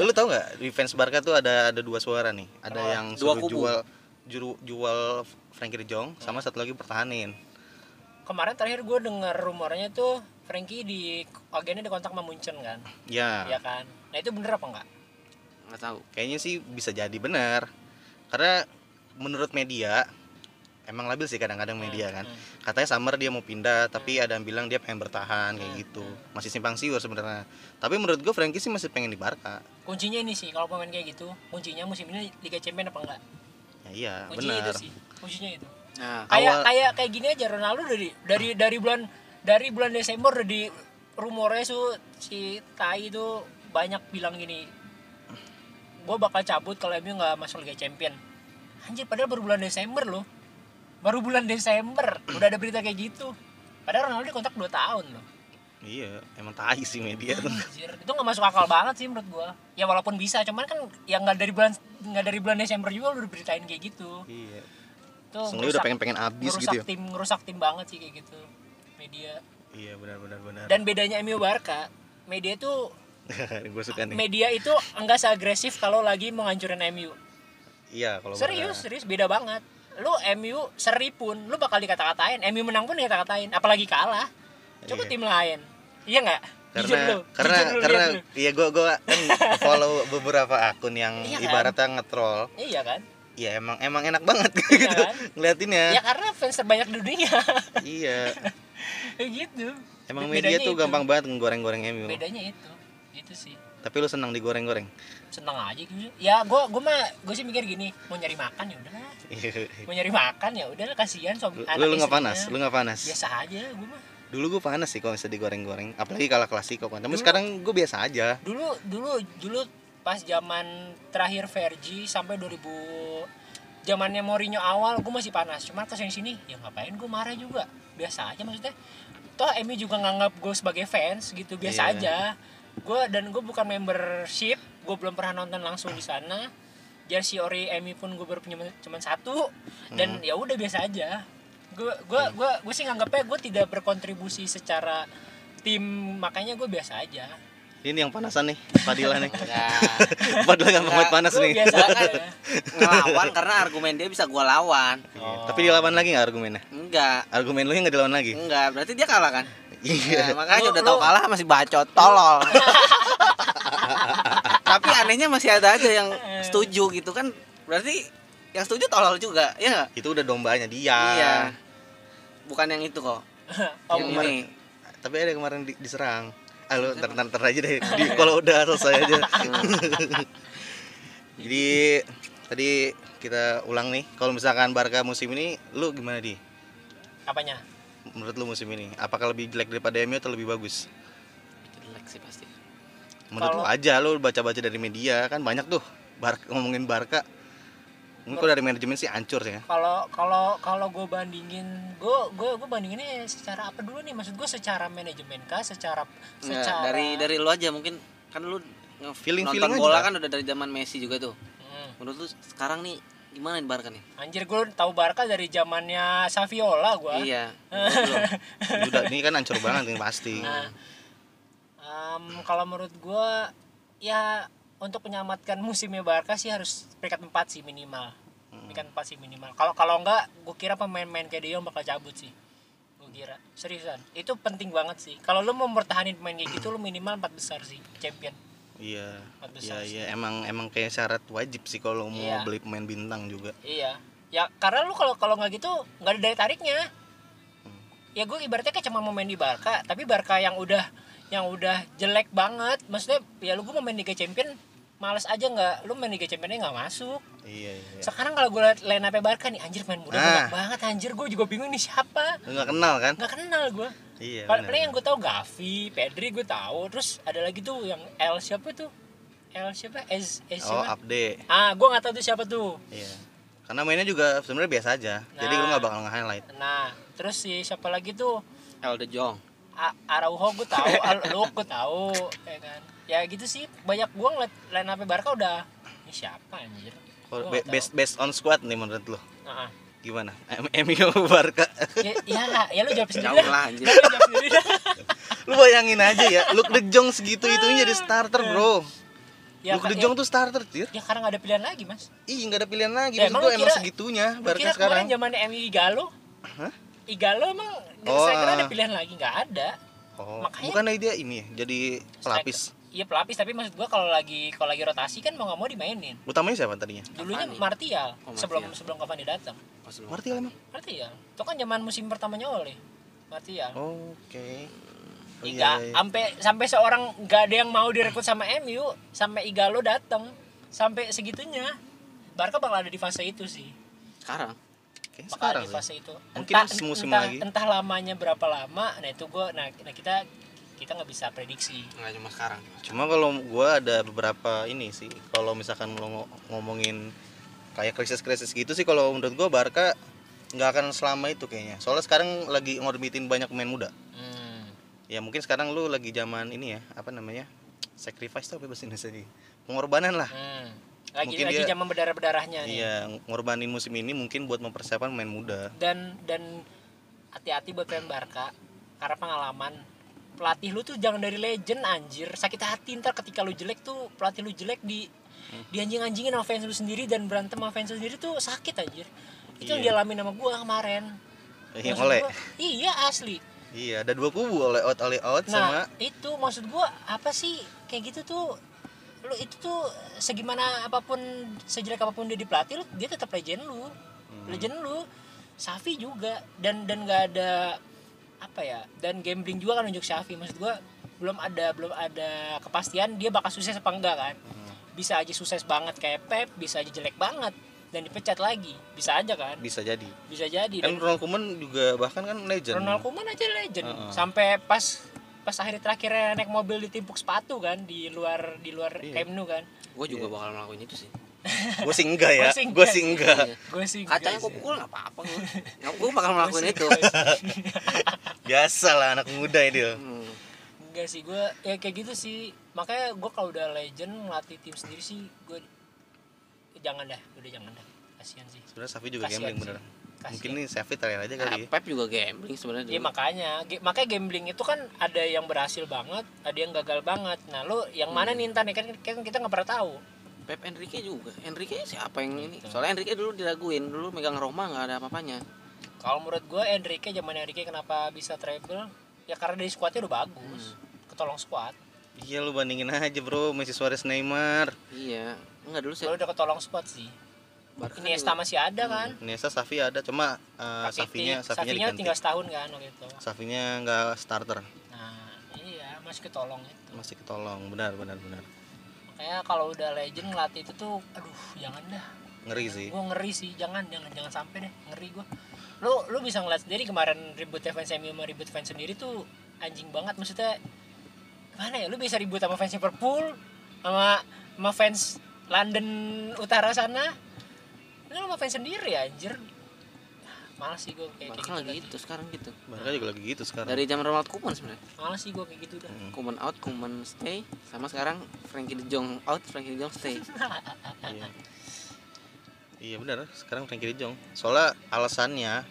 S1: Lu, lu tau nggak di fans Barca tuh ada ada dua suara nih. Ada
S3: Apa?
S1: yang
S2: Dua
S1: suruh
S2: kubu.
S1: jual juru, jual Frankie De Jong sama satu lagi pertahanin.
S3: kemarin terakhir gue dengar rumornya tuh Frankie di agennya dikontak sama Munchen kan
S1: Ya,
S3: ya kan nah itu bener apa enggak
S2: nggak tahu
S1: kayaknya sih bisa jadi benar. Karena menurut media emang labil sih kadang-kadang media kan. Katanya Summer dia mau pindah, tapi ada yang bilang dia pengen bertahan kayak gitu. Masih simpang siur sebenarnya. Tapi menurut gua Frankie sih masih pengen di Barca.
S3: kuncinya ini sih kalau pemain kayak gitu kuncinya musim ini Liga Champion apa enggak
S1: Ya iya,
S3: kuncinya
S1: benar.
S3: itu sih kuncinya itu
S2: nah
S3: kayak
S1: Awal-
S3: kayak kayak gini aja Ronaldo dari dari dari bulan dari bulan Desember udah di rumornya su si Tai itu banyak bilang gini gue bakal cabut kalau MU nggak masuk Liga Champion anjir padahal baru bulan Desember loh baru bulan Desember udah ada berita kayak gitu padahal Ronaldo dikontak 2 tahun loh
S1: Iya, emang tai sih media tuh.
S3: anjir itu nggak masuk akal banget sih menurut gue ya walaupun bisa cuman kan yang nggak dari bulan nggak dari bulan Desember juga udah beritain kayak gitu
S1: Iya.
S3: tuh
S1: Sungguh udah
S3: ngerusak-
S1: pengen-pengen abis
S3: ngerusak
S1: gitu ya.
S3: Oh, tim ngerusak tim banget sih kayak gitu media
S1: Iya, benar benar benar.
S3: dan bedanya MU Barca media tuh
S1: gue suka nih.
S3: media itu enggak seagresif kalau lagi menghancurin MU
S1: Iya, kalau
S3: serius
S1: Barca.
S3: serius beda banget lu MU seri pun lu bakal dikata-katain MU menang pun dikata-katain apalagi kalah coba
S1: Iya.
S3: tim lain iya nggak
S1: Karena karena
S3: Jujur lu,
S1: karena
S3: lihat lu.
S1: iya gua gua kan follow beberapa akun yang
S3: Iya kan?
S1: ibaratnya nge-troll.
S3: iya kan
S1: Ya emang emang enak banget gitu.
S3: kan? ya
S1: Ngeliatinnya.
S3: karena fans terbanyak di dunia
S1: Iya.
S3: gitu
S1: Emang media
S3: Bedanya
S1: tuh
S3: itu.
S1: gampang banget ngegoreng-goreng MU.
S3: bedanya itu itu sih
S1: Tapi lu senang digoreng-goreng.
S3: seneng aja gitu ya gue gue mah gue sih mikir gini mau nyari makan ya udah mau nyari makan ya udah kasihan suami
S1: Iya. lu
S3: anak
S1: lu nggak
S3: istrinya.
S1: panas, lu nggak panas.
S3: biasa aja gue mah
S1: Dulu gue panas sih kalau bisa digoreng-goreng, apalagi kalau klasiko kan. Tapi
S3: Dulu-
S1: sekarang gue biasa aja.
S3: dulu dulu dulu pas zaman terakhir Vergi sampai 2000 zamannya Mourinho awal gue masih panas cuman kesini sini ya ngapain gue marah juga biasa aja maksudnya toh Emi juga nganggap gue sebagai fans gitu biasa
S1: Iya.
S3: aja gue dan gue bukan membership gue belum pernah nonton langsung di sana jersey ori Emi pun gue baru punya cuma satu dan ya udah biasa aja gue gue gue gue sih nganggapnya gue tidak berkontribusi secara tim makanya gue biasa aja
S1: Ini yang panasan nih, Fadila nih.
S2: nggak
S1: Fadila gampang banget panas
S3: Ya. Nah, Gua
S1: nih.
S3: biasa aja. ya.
S2: ngelawan karena argumen dia bisa gua lawan
S1: Iya. Tapi dilawan lagi nggak argumennya?
S2: enggak
S1: Argumen lu yang nggak dilawan lagi?
S2: enggak berarti dia kalah kan
S1: Iya.
S2: Ya, makanya
S3: Lu-
S2: udah tau
S3: lu-
S2: kalah masih bacot tolol tapi anehnya masih ada aja yang
S3: Eh.
S2: setuju gitu kan berarti yang setuju tolol juga ya nggak?
S1: Itu udah dombanya dia.
S2: iya bukan yang itu kok
S3: Oh,
S2: yang
S1: kemarin.
S2: ini
S1: Tapi ada yang kemarin di- diserang. Ah, lu ntar, ntar, ntar aja deh. Di, kalau udah selesai aja. Jadi tadi kita ulang nih. Kalau misalkan Barca musim ini, lu gimana di?
S3: apanya?
S1: Menurut lu musim ini, apakah lebih jelek daripada MU atau lebih bagus?
S2: jelek sih pasti
S1: Menurut lu
S3: Kalau-
S1: aja, lu baca-baca dari media kan banyak tuh. Barca, ngomongin Barca. Mungkin kalau dari manajemen sih hancur sih ya.
S3: Kalau kalau kalau gue bandingin, gue gue gue bandinginnya secara apa dulu nih? Maksud gue secara manajemen kah? Secara
S2: Nggak,
S3: secara
S2: dari dari lu aja mungkin kan lu nge-
S1: Feeling-
S2: nonton
S1: feeling aja
S2: bola
S1: lah.
S2: kan udah dari zaman Messi juga tuh
S3: Hmm.
S2: menurut lu sekarang nih gimana nih Barca nih
S3: Anjir gue tahu Barca dari zamannya Saviola gue.
S2: iya menurut lu belum?
S1: Ini Udah, ini kan hancur banget ini pasti.
S3: Em, kalau menurut gue ya untuk menyelamatkan musimnya Barca sih harus peringkat 4 sih minimal. Peringkat 4 sih minimal. Kalau kalau enggak gue kira pemain-pemain kayak De Jong bakal cabut sih. Gue kira. Seriusan. Itu penting banget sih. Kalau lu mau mempertahankan pemain kayak gitu lu minimal 4 besar sih champion.
S1: Iya.
S3: Empat
S1: Iya,
S3: besar sih.
S1: iya, emang emang kayak syarat wajib sih kalau mau
S3: Iya.
S1: beli pemain bintang juga.
S3: Iya. ya karena lu kalau kalau nggak gitu nggak ada daya tariknya ya gue ibaratnya kayak cuma mau main di Barca tapi Barca yang udah yang udah jelek banget maksudnya ya lu gue mau main Liga Champion males aja nggak lu main Liga Championnya nggak masuk
S1: Iya, iya.
S3: sekarang kalau gue liat line up Barca nih anjir main muda
S1: Nah.
S3: banyak banget anjir gue juga bingung nih siapa
S1: Lu nggak kenal kan?
S3: nggak kenal gue
S1: Iya. benar.
S3: paling paling yang gue tahu Gavi Pedri gue tahu terus ada lagi tuh yang L siapa tuh L siapa S S
S1: Oh,
S3: siapa
S1: update.
S3: ah gue nggak tahu tuh siapa tuh
S1: Iya. Karena mainnya juga sebenarnya biasa aja. Jadi lu
S3: Nah.
S1: nggak bakal nge-highlight.
S3: nah terus si siapa lagi tuh
S2: El De Jong
S3: A- Araujo gue tahu, Alok gue tahu, ya kan. Ya gitu sih, banyak gue ngeliat line up Barca udah ini siapa anjir.
S1: Kalau
S3: Gua
S1: be-
S3: nggak tahu.
S1: Based, based on squad nih menurut lu.
S3: Nah,
S1: Gimana? M- MU Barca.
S3: ya, ya, ya lu jawab sendiri
S2: jauh
S3: dah.
S2: lah anjir
S3: Lu jawab sendiri dah.
S1: lu bayangin aja ya, Luke De Jong segitu itunya jadi starter, Bro.
S3: Ya,
S1: Luke
S3: Kak,
S1: De Jong tuh starter, Cir.
S3: ya, ya karena gak ada pilihan lagi mas.
S1: Ih, nggak ada pilihan lagi. Maksud
S3: Ya, emang
S1: gua
S3: lu
S1: emang
S3: kira-
S1: segitunya
S3: Lu
S1: Barca
S3: kira kemarin
S1: sekarang.
S3: zaman MU Igalo,
S1: Hah?
S3: Igalo emang dari
S1: Oh,
S3: striker ada
S1: ah.
S3: pilihan lagi nggak ada.
S1: Oh,
S3: Makanya-
S1: bukannya dia ini ya, jadi pelapis.
S3: Iya pelapis tapi maksud gue kalau lagi kalau lagi rotasi kan mau nggak mau dimainin.
S1: Utamanya siapa tadinya?
S3: Dulunya
S2: Cavani.
S3: Martial
S2: Oh,
S3: sebelum
S2: Martial.
S3: sebelum Cavani datang.
S2: Pas lu-
S1: Martial emang.
S3: Martial, itu kan zaman musim pertamanya oleh Martial.
S1: Oke. Oh,
S3: Iga, sampai sampai seorang nggak ada yang mau direkrut sama MU, sampai Igalo datang, sampai segitunya. Barca bakal ada di fase itu sih.
S2: sekarang
S1: Oke,
S3: Bakal ada
S1: sekarang
S3: di
S1: sih.
S3: fase itu.
S1: Mungkin semusim
S3: entah,
S1: lagi.
S3: Entah lamanya berapa lama, nah itu gua nah, nah kita kita nggak bisa prediksi.
S2: nggak cuma sekarang
S1: Cuma kalau gua ada beberapa ini sih, kalau misalkan lo ngo- ngomongin kayak krisis-krisis gitu sih kalau menurut gua Barca nggak akan selama itu kayaknya. Soalnya sekarang lagi ngorbitin banyak pemain muda.
S3: Hmm.
S1: Ya mungkin sekarang lu lagi zaman ini ya, apa namanya? Sacrifice tuh apa bahasa Indonesia sih? Pengorbanan lah.
S3: hmm. Lagi
S1: Mungkin
S3: lagi
S1: dia-
S3: zaman berdarah-berdarahnya nih.
S1: Iya, ngorbanin musim ini mungkin buat mempersiapkan pemain muda.
S3: Dan dan hati-hati buat pemain Barca karena pengalaman pelatih lu tuh jangan dari legend anjir sakit hati ntar ketika lu jelek tuh pelatih lu jelek di di anjing-anjingin sama fans lu sendiri dan berantem sama fans lu sendiri tuh sakit anjir itu yang
S1: Iya.
S3: dialami sama gua kemarin
S1: Yang
S3: Maksud
S1: oleh.
S3: gua, iya asli
S1: Iya, ada dua kubu oleh out oleh out sama
S3: nah itu maksud gua apa sih kayak gitu tuh lu itu tuh segimana apapun sejelek apapun dia di pelatih lu dia tetap legend lu
S1: Hmm.
S3: legend lu Safi juga dan dan nggak ada apa ya dan gambling juga kan untuk Safi maksud gua belum ada belum ada kepastian dia bakal sukses apa enggak kan
S1: Hmm.
S3: bisa aja sukses banget kayak Pep bisa aja jelek banget dan dipecat lagi bisa aja kan
S1: bisa jadi.
S3: bisa jadi
S1: Kan
S3: dan
S1: Ronald Koeman juga bahkan kan legend.
S3: Iya. Ronald Koeman aja legend
S1: Heeh.
S3: sampai pas pas akhir terakhirnya naik mobil ditimpuk sepatu kan di luar di luar
S1: Iya.
S3: Camp Nou kan
S2: gue juga bakal melakukan itu sih
S1: gue sih enggak ya
S3: Gua sih
S1: gue
S3: enggak
S1: sih
S3: sih.
S1: enggak
S2: Iya.
S3: gue sih
S2: kacanya
S3: guys,
S2: gue pukul nggak apa-apa gue gue bakal melakukan itu
S1: biasa lah anak muda ya dia
S2: Hmm.
S3: Enggak sih gue ya kayak gitu sih makanya gue kalau udah legend ngelatih tim sendiri sih gue jangan dah udah jangan dah kasihan sih
S1: sebenarnya Safi juga
S3: Kasihan
S1: Iya, gambling
S3: sih.
S1: bener
S3: Kasihan.
S1: mungkin nih Safi terakhir aja kali
S2: Nah,
S1: ya.
S2: Pep juga gambling sebenarnya
S3: Iya
S2: dulu.
S3: makanya, Ge- makanya gambling itu kan ada yang berhasil banget, ada yang gagal banget. Nah lu yang
S1: Hmm.
S3: mana nih Intan ya? kan, kan kita nggak pernah tahu.
S2: Pep Enrique juga Enrique siapa yang ini soalnya Enrique dulu diraguin dulu megang Roma nggak ada apa-apanya
S3: Kalau menurut gue Enrique zaman Enrique kenapa bisa treble? Ya karena dari skuadnya udah bagus,
S1: Hmm.
S3: ketolong skuad.
S1: iya lu bandingin aja bro Messi Suarez Neymar
S2: iya nggak dulu
S3: Lu
S2: saya
S3: udah ketolong skuad sih.
S2: Barca
S3: Ini Esta masih ada kan?
S1: Nesta Safi ada cuma eh,
S3: Rakitic,
S1: Hmm. Safinya Safinya
S3: Safinya
S1: diganti
S3: tinggal setahun kan waktu itu.
S1: Safinya enggak starter
S3: Nah iya masih ketolong itu.
S1: masih ketolong benar benar benar
S3: Makanya kalau udah legend ngelatih itu tuh, aduh jangan dah.
S1: ngeri sih
S3: Gue ngeri sih, jangan, jangan, jangan sampai deh, ngeri gue. Lo, lo bisa ngeliat sendiri kemarin ribut fans MU sama ribut fans sendiri tuh anjing banget maksudnya. Mana ya, lo bisa ribut sama fans Liverpool, sama sama fans London utara sana. Lo sama fans sendiri anjir. Malas sih gue kayak,
S2: Barca
S3: kayak gitu.
S2: lagi gitu sekarang gitu
S1: Barca juga lagi gitu sekarang Hmm,
S2: dari zaman Ronald Koeman sebenarnya
S3: Malas sih gue kayak gitu dah.
S2: Koeman out Koeman stay sama sekarang Frankie De Jong out Frankie De Jong stay
S1: iya iya benar sekarang Frankie De Jong soalnya alasannya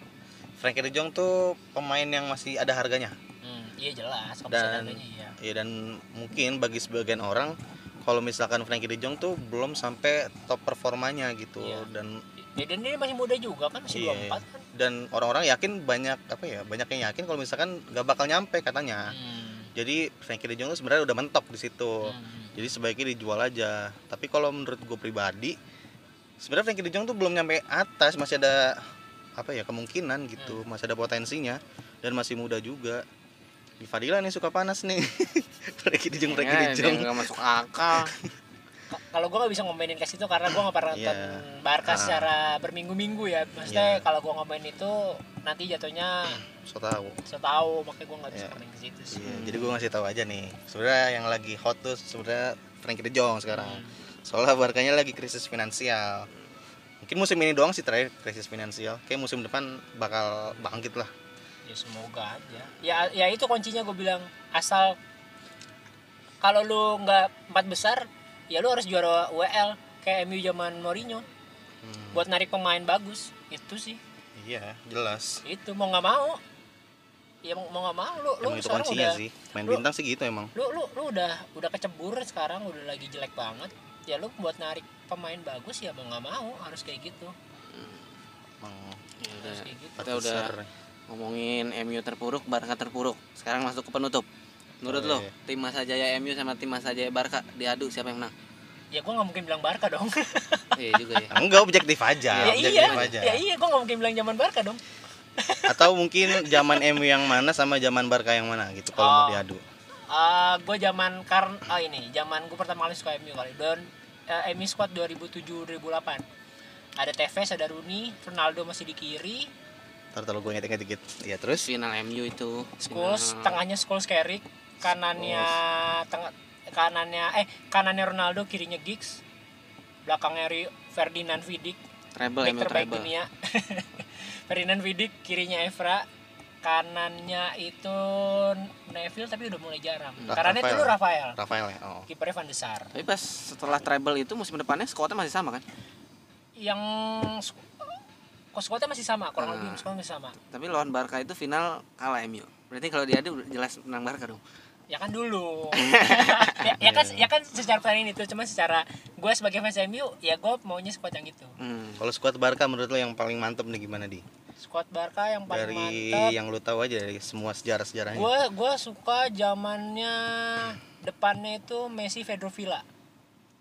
S1: Frankie De Jong tuh pemain yang masih ada harganya
S3: Hmm, iya jelas, kalau
S1: Dan-
S3: misalnya adanya, iya.
S1: Ya dan mungkin bagi sebagian orang kalau misalkan Frankie De Jong tuh belum sampai top performanya gitu
S3: Iya.
S1: dan
S3: Ya, dan dia masih muda juga kan, masih
S1: Iya,
S3: 24 kan.
S1: dan orang-orang yakin banyak apa ya banyak yang yakin kalau misalkan gak bakal nyampe katanya
S3: Hmm,
S1: jadi Frankie De Jong tuh sebenarnya udah mentok di situ
S3: hmm.
S1: jadi sebaiknya dijual aja tapi kalau menurut gue pribadi sebenarnya Frankie De Jong tuh belum nyampe atas masih ada apa ya kemungkinan gitu masih ada potensinya dan masih muda juga di Fadila nih suka panas nih Frankie De Jong Frankie De
S2: Ya, dia
S1: Jong
S2: nggak masuk akal.
S3: Ka- kalau gue nggak bisa ngomainin ke situ karena gue nggak pernah nonton
S1: Iya. Ah.
S3: Barca secara berminggu-minggu ya maksudnya
S1: Iya.
S3: kalau gue ngomain itu nanti jatuhnya
S1: so tahu
S3: setahu makanya gue nggak bisa
S1: Iya.
S3: ngomain ke situ sih
S1: Iya, jadi gue ngasih tahu aja nih sebenarnya yang lagi hot tuh sebenarnya Frankie De Jong
S3: Hmm.
S1: sekarang soalnya Barkanya lagi krisis finansial mungkin musim ini doang sih terakhir krisis finansial kayak musim depan bakal bangkit lah
S3: ya semoga aja ya ya itu kuncinya gue bilang asal kalau lu nggak empat besar ya lu harus juara WL kayak MU zaman Mourinho
S1: Hmm,
S3: buat narik pemain bagus itu sih
S1: iya jelas
S3: itu mau nggak mau ya mau mau nggak mau lu lu
S1: emang itu
S3: sekarang
S1: kuncinya
S3: udah
S1: sih main
S3: lu-
S1: bintang sih gitu emang
S3: lu lu lu udah udah kecebur sekarang udah lagi jelek banget ya lu buat narik pemain bagus ya mau nggak mau harus kayak gitu
S1: emang
S2: Ya udah.
S3: harus kayak gitu
S2: Kita udah
S1: besar.
S2: ngomongin MU terpuruk, Barca terpuruk. Sekarang masuk ke penutup. Menurut
S1: Oh,
S2: lo,
S1: iya.
S2: tim Masa Jaya MU sama tim Masa Jaya Barca diadu siapa yang menang?
S3: ya gua nggak mungkin bilang Barca dong
S2: Iya juga ya.
S1: enggak objektif aja
S3: ya
S1: objektif
S3: iya
S1: Ah, aja
S3: ya iya gua nggak mungkin bilang zaman Barca dong
S1: atau mungkin zaman MU yang mana sama zaman Barca yang mana gitu kalau mau
S3: Oh.
S1: diadu
S3: Eh gue zaman karn oh ini zaman gue pertama kali suka MU kali don eh, MU squad 2007 2008 ada Tevez ada Rooney Ronaldo masih di kiri
S1: ntar kalau gue ngetik dikit ya
S3: Iya.
S1: terus
S2: Final MU itu.
S3: Scholes
S2: final.
S3: tengahnya Scholes Carrick kanannya tengah kanannya eh kanannya Ronaldo kirinya Giggs belakangnya Rio Ferdinand Vidic
S2: Treble
S3: back
S2: MU
S3: terbaik
S2: treble.
S3: dunia Ferdinand Vidic kirinya Evra kanannya itu Neville tapi udah mulai jarang
S1: Ra-
S3: kanannya dulu Rafael
S1: Rafael ya oh
S3: kipernya Van de Sar
S2: Tapi pas setelah treble itu musim depannya skuadnya masih sama kan?
S3: yang sku- kok skuadnya masih sama
S2: Ah.
S3: kurang lebih skuadnya masih sama
S2: Tapi lawan Barca itu final kalah MU. Berarti kalau diadu jelas menang Barca dong.
S3: ya kan dulu ya, ya kan
S1: Iya.
S3: ya kan secara planning itu cuma secara gue sebagai fans MU ya gue maunya squad yang gitu. itu
S2: Hmm.
S1: kalau skuad Barca menurut lo yang paling mantep nih gimana di
S3: squad Barca yang paling
S1: dari
S3: mantap
S1: yang lu tahu aja dari semua sejarah sejarahnya
S3: gue gue suka zamannya depannya itu Messi Pedro Villa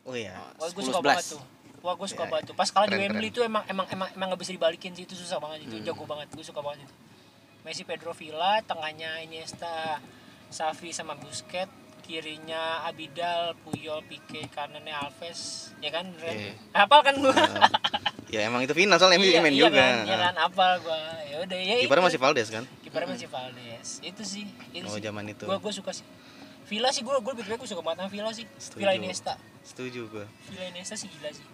S1: oh iya
S3: wah gue
S2: 10,
S3: suka
S2: 11.
S3: banget tuh wah gue suka
S1: Ya,
S3: banget tuh pas kalah di
S1: Keren,
S3: Wembley
S1: keren. Hmm.
S3: itu emang emang emang emang nggak bisa dibalikin sih itu susah banget itu jago banget gue suka banget itu Messi Pedro Villa tengahnya Iniesta Xavi sama Busquets kirinya Abidal Puyol Pique kanannya Alves ya kan
S1: Iya.
S3: Ren? Apal kan gue
S1: ya emang itu final soalnya MU main juga
S3: kan, iya kan apal gue ya udah ya
S1: kiper
S3: itu.
S1: masih Valdes kan
S3: kipernya masih Valdes itu sih itu
S1: oh
S3: sih
S1: zaman itu
S3: gue gue suka sih Villa sih gue gue lebih gue suka banget sama Villa sih Villa
S1: Setuju.
S3: Iniesta
S1: setuju gue
S3: Gila Inesta sih gila sih.